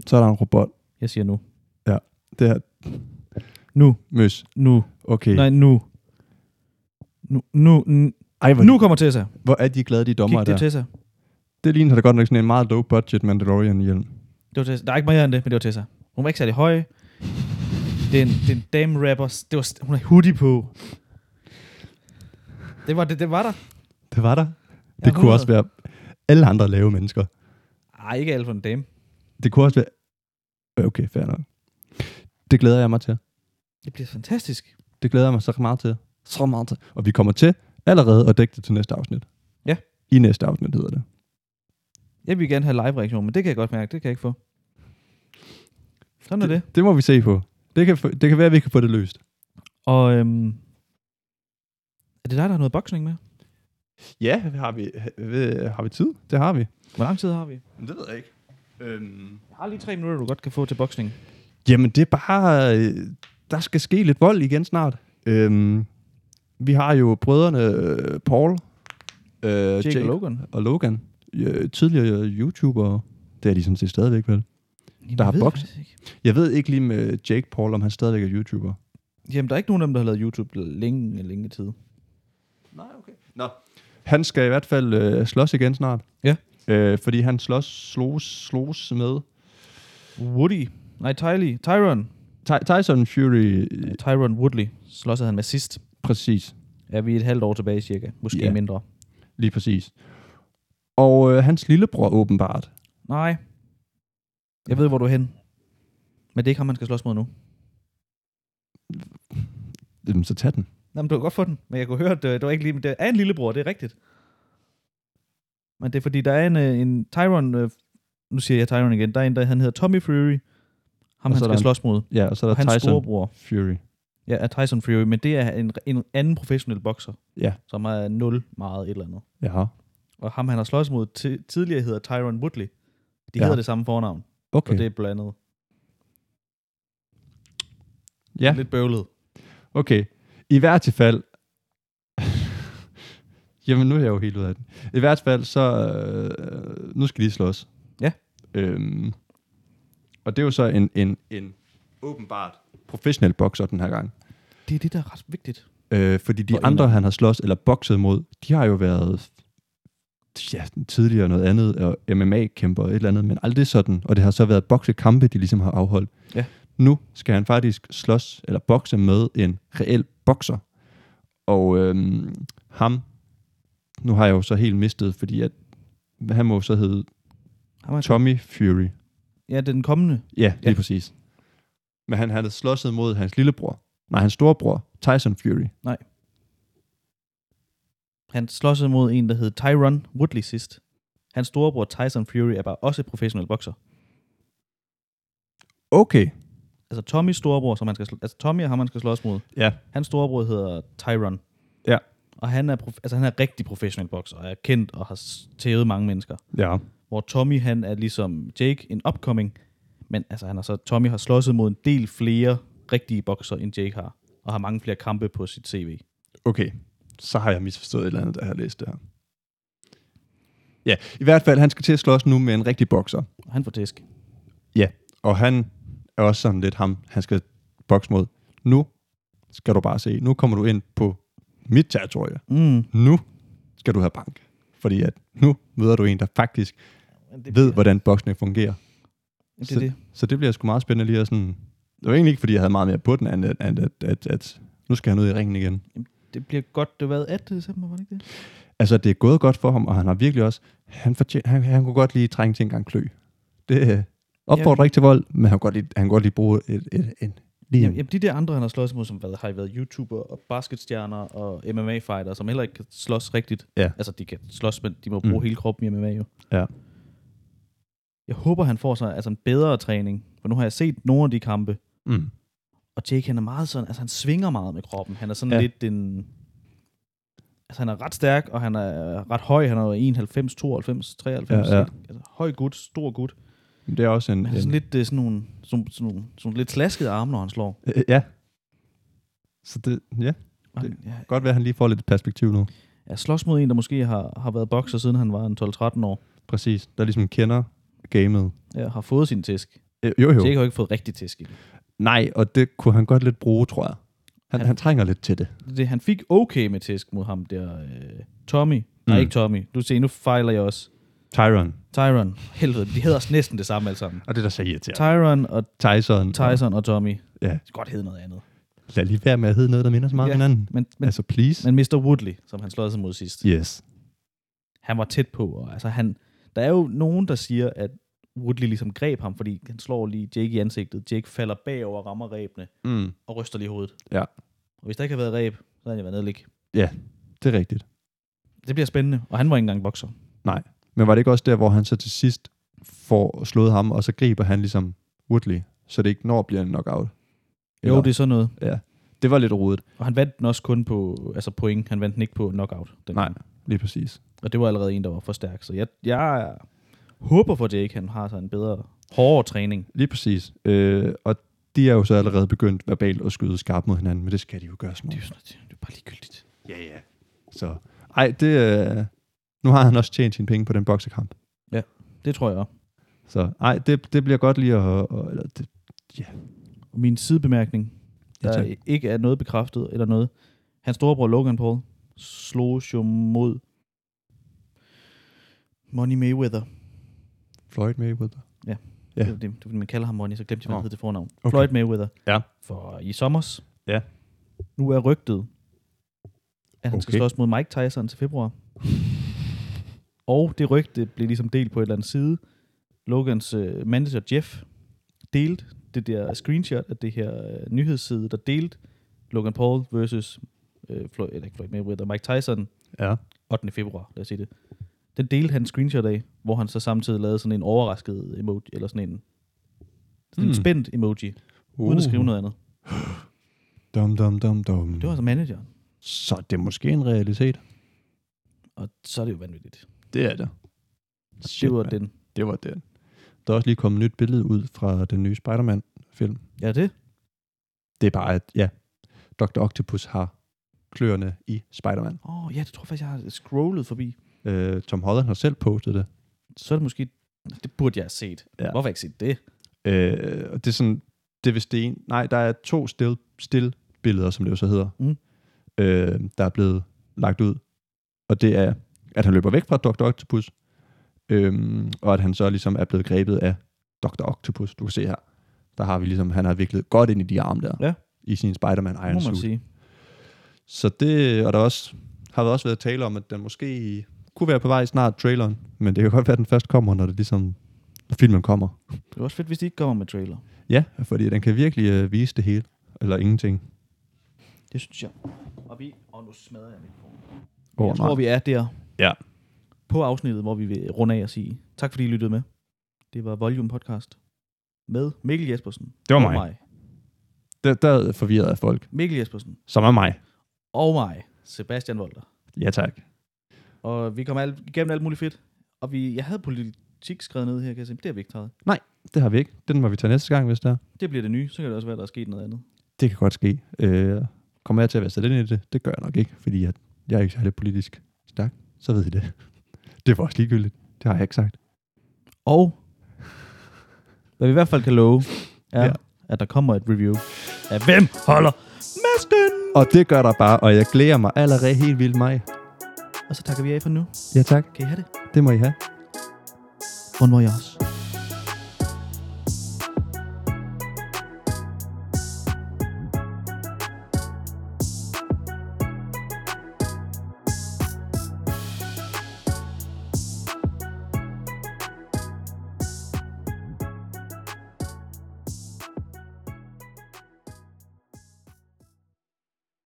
Så er der en robot. Jeg siger nu. Det her, Nu. møs. Nu. Okay. Nej, nu. Nu. Nu. n- Ej, hvor, Nu kommer Tessa. hvor er de glade, de Kig, dommer det er der. Tessa. Det ligner da godt nok sådan en meget low budget Mandalorian-hjelm. Det var Tessa. Der er ikke mere end det, men det var Tessa. Hun var ikke særlig høj. Det er en, det er en dame rapper. Det var, st- hun har hoodie på. Det var, det, det var der. Det var der. Ja, Det kunne 100. også være alle andre lave mennesker. Ej, ikke alt for en dame. Det kunne også være... Øh, Okay, fair nok. Det glæder jeg mig til. Det bliver fantastisk. Det glæder jeg mig så meget til. Så meget til. Og vi kommer til allerede at dække det til næste afsnit. Ja. I næste afsnit hedder det. Jeg vil gerne have live-reaktion, men det kan jeg godt mærke. Det kan jeg ikke få. Sådan er det. Det må vi se på. Det kan, det kan være, at vi kan få det løst. Og øhm, er det dig, der har noget boksning med? Ja, har vi, øh, har vi tid? Det har vi. Hvor lang tid har vi? Men det ved jeg ikke. Øhm. Jeg har lige tre minutter, du godt kan få til boksning. Jamen, det er bare... øh, Der skal ske lidt vold igen snart. Øhm, vi har jo brødrene øh, Paul øh, Jake, Jake Logan. og Logan. Øh, tidligere YouTubere. Det er de sådan set stadigvæk, vel? Jamen, Der jeg har ved det bokset. faktisk ikke. Jeg ved ikke lige med Jake Paul, om han stadigvæk er YouTuber. Jamen, der er ikke nogen af dem, der har lavet YouTube længe, længe tid. Nej, okay. Nå. Han skal i hvert fald øh, slås igen snart. Ja. Øh, fordi han slås, slås, slås med Woody. Nej, Tylee. Tyron. Ty- Tyson Fury. Øh, Tyron Woodley slåsede han med sidst. præcis. Er vi et halvt år tilbage cirka? Måske Ja. yeah. mindre. Lige præcis. Og øh, hans lillebror åbenbart. Nej. Jeg ved, hvor du er hen. Men det er ikke ham, man skal slås mod nu. Jamen, så tag den. Jamen, du kan godt få den. Men jeg kunne høre, at øh, det, det var ikke lige... Det er en lillebror, det er rigtigt. Men det er fordi, der er en, øh, en Tyron... øh, Nu siger jeg Tyron igen. Der er en, der han hedder Tommy Fury. Og Ham, han så er skal der en- slås mod. Ja, og så er Og der hans Tyson storebror Fury. ja, er Tyson Fury, men det er en, en anden professionel bokser, Ja. som er 0 meget et eller andet. Ja. Og ham, han har slås mod ti- tidligere, hedder Tyron Woodley. De Ja. ja. hedder det samme fornavn, okay. Okay. så det er blandet. Ja. Lidt bøvlet. Okay. I hvert fald... Jamen, nu er jeg jo helt ud af den. I hvert fald, så... Øh, nu skal de slås. Ja. Øhm, og det er jo så en, en, en åbenbart professionel bokser den her gang. Det er det, der er ret vigtigt. Øh, fordi de Og en andre, af- han har slås eller bokset mod, de har jo været ja, tidligere noget andet, og MMA-kæmper og et eller andet, men aldrig sådan. Og det har så været boksekampe, de ligesom har afholdt. Ja. Nu skal han faktisk slås eller bokse med en reel bokser. Og øhm, ham, nu har jeg jo så helt mistet, fordi at, han må jo så hedde Ham, han, Tommy Fury. ja, det er den kommende. Ja, lige ja. Ja. præcis. Men han havde slåsset mod hans lillebror. Nej, hans storebror, Tyson Fury. Han slås mod en, der hed Tyron Woodley sidst. Hans storebror Tyson Fury er bare også professionel bokser. Okay. Altså Tommys storebror, som han skal sl- altså Tommy er ham, han skal slås mod. Ja. Hans storebror hedder Tyron. Ja. Og han er, prof- altså, han er rigtig professionel bokser, og er kendt og har s- tævet mange mennesker. Ja. hvor Tommy han er ligesom Jake, en upcoming, men altså, han har så, Tommy har slåsset mod en del flere rigtige bokser, end Jake har, og har mange flere kampe på sit CV. Okay, så har jeg misforstået et eller andet, da jeg har læst det her. Ja, i hvert fald, han skal til at slås nu med en rigtig bokser. Og han får tæsk. Og han er også sådan lidt ham, han skal bokse mod. Nu skal du bare se, nu kommer du ind på mit territorie. Mm. Nu skal du have bank. Fordi at nu møder du en, der faktisk Det, ved, hvordan boksning fungerer. det, er det. Så det bliver sgu meget spændende lige at sådan... Det var egentlig ikke, fordi jeg havde meget mere på den, end at, at, at, at, at nu skal han ud i ringen igen. det bliver godt, det var 18. december, var det ikke det? Altså, det er gået godt for ham, og han har virkelig også... Han, fortjener, han, han kunne godt lige trænge til en gang klø. Det øh, opfordrer ja. ikke til vold, men han kunne godt lige, han kunne godt lige bruge et, et, en, lige Jamen, en, jamen, de der andre, han har slået imod, som hvad, har været YouTuber og basketstjerner og MMA-fighter, som heller ikke kan slås rigtigt. Ja. Altså, de kan slås, men de må bruge Mm. mm. hele kroppen i MMA jo. Ja. Jeg håber, han får sig altså, en bedre træning, for nu har jeg set nogle af de kampe, mm, og Jake, han er meget sådan, altså han svinger meget med kroppen. Han er sådan Ja. ja. lidt en... Altså han er ret stærk, og han er ret høj. Han er jo 91, 92, 93. Ja, ja. ikke? Altså, høj gut, stor gut. det er også en... Men han er en sådan lidt øh, sådan nogle, sådan, sådan nogle, sådan nogle lidt slaskede arme, når han slår. øh, ja. Så det, ja, Og Det- Han, ja, godt være, at han lige får lidt perspektiv nu. jeg slås mod en, der måske har, har været bokser, siden han var en 12-13 år. Præcis. Der ligesom kender gamet. Ja, har fået sin tæsk. Øh, jo, jo. Jake har jo ikke fået rigtig tæsk endnu. Nej, og det kunne han godt lidt bruge, tror jeg. Han, han, Han- han trænger lidt til det. det, han fik okay med tæsk mod ham der, øh, Tommy. Nej, Mm. ikke Tommy. Du ser, nu fejler jeg også. Tyron. Tyron. Helvede, de hedder også næsten det samme alle sammen. Og det er der så irriterende. Tyron og Tyson. Tyson og Tommy. Det Ja. skal godt hedde noget andet. Lad lige være med at hedde noget, der minder så meget Ja. om hinanden. Men, men, Men, altså, please. men Mr. Woodley, som han slåede sig mod sidst, yes. han var tæt på. Og, altså, han, der er jo nogen, der siger, at Woodley ligesom greb ham, fordi han slår lige Jake i ansigtet. Jake falder bagover, og rammer ræbene Mm. og ryster lige hovedet. Ja. Og hvis der ikke havde været ræb, så havde han jo været nedlig. Det er rigtigt. Det bliver spændende, og han var ikke engang bokser. Men var det ikke også der, hvor han så til sidst får slået ham, og så griber han ligesom Woodley, så det ikke når at blive en knockout? Jo, det er sådan noget. det var lidt rodet. Og han vandt den også kun på altså point. Han vandt den ikke på knockout. Den Nej, gang. lige præcis. Og det var allerede en, der var for stærk. Så jeg, jeg håber for Jake, han har så en bedre, hårdere træning. Lige præcis. Øh, og de er jo så allerede begyndt verbalt at skyde skarpt mod hinanden, men det skal de jo gøre sådan Det er jo noget. sådan, det er jo bare ligegyldigt. Ja, ja. Så, ej, det, øh, nu har han også tjent sine penge på den boksekamp. Det tror jeg. Så ej, det, det bliver godt lige at... at eller, det, Og min sidebemærkning, Ja, der tak. ikke er noget bekræftet eller noget. Hans storebror Logan Paul slog jo mod Money Mayweather. Floyd Mayweather. Ja. Ja. Det, er det, det, man kalder ham Money, så glemte jeg, hvad Nå. han hed det fornavn. Okay. Okay. Floyd Mayweather. Ja. For i sommers. Ja. Nu er rygtet, at han okay. skal Okay. slås mod Mike Tyson til februar. Og det rygte blev ligesom delt på et eller andet side. Logans øh, manager Jeff delte det der screenshot af det her øh, nyhedsside, der delte Logan Paul versus øh, Floyd, eller ikke Floyd Mayweather, Mike Tyson Ja. 8. februar, lad os sige det. Den delte han en screenshot af, hvor han så samtidig lavede sådan en overrasket emoji, eller sådan en, sådan mm. Mm. en spændt emoji, uh. uden at skrive noget andet. Dum, dum, dum, dum. Det var altså manageren. Så det er måske en realitet. Og så er det jo vanvittigt. Det er det. Shit, det var den. Det var det. Der er også lige kommet nyt billede ud fra den nye Spider-Man-film. Ja, det. Det er bare, at ja, Dr. Octopus har kløerne i Spider-Man. Åh, oh, ja, det tror jeg faktisk, jeg har scrollet forbi. Øh, Tom Holland har selv postet det. Så er det måske... Det burde jeg have set. Ja. Ja. Hvorfor har jeg ikke set det? Øh, og det er sådan, det er vist det ene. Nej, der er to still, still billeder, som det jo så hedder, Mm. øh, der er blevet lagt ud. Og det er, at han løber væk fra Dr. Octopus, øhm, og at han så ligesom er blevet grebet af Dr. Octopus. Du kan se her, der har vi ligesom, han har viklet godt ind i de arme der, Ja. i sin Spider-Man Det Iron må man Suit. sige. Så det, og der er også, har også været tale om, at den måske kunne være på vej snart, traileren, men det kan godt være, at den først kommer, når det ligesom, når filmen kommer. Det er også fedt, hvis de ikke kommer med trailer. Ja, fordi den kan virkelig øh, vise det hele, eller ingenting. Det synes jeg. Og vi... Og nu smadrer jeg mikrofonen. Åh, jeg nej. tror, vi er der. Ja. På afsnittet, hvor vi vil runde af og sige tak, fordi I lyttede med. Det var Volume Podcast med Mikkel Jespersen. Det var mig. Og mig. Der, der er forvirret af folk, Mikkel Jespersen. som er mig. Og mig. Sebastian Volter. Ja, tak. Og vi kom alt, igennem alt muligt fedt. Og vi, jeg havde politik skrevet ned her, kan jeg se. Det har vi ikke taget. Det har vi ikke. Den må vi tage næste gang, hvis der. Det bliver det nye. Så kan det også være, der er sket noget andet. Det kan godt ske. Øh, kommer jeg til at være sat ind i det? Det gør jeg nok ikke, fordi jeg, jeg er ikke særlig politisk stærk. Så ved I det. Det var også ligegyldigt. Det har jeg ikke sagt. Og hvad vi i hvert fald kan love, er, Ja. ja. at der kommer et review af Hvem holder masken? Og det gør der bare, og jeg glæder mig allerede helt vildt mig. Og så takker vi af for nu. Ja, tak. Kan I have det? Det må I have. Bon voyage.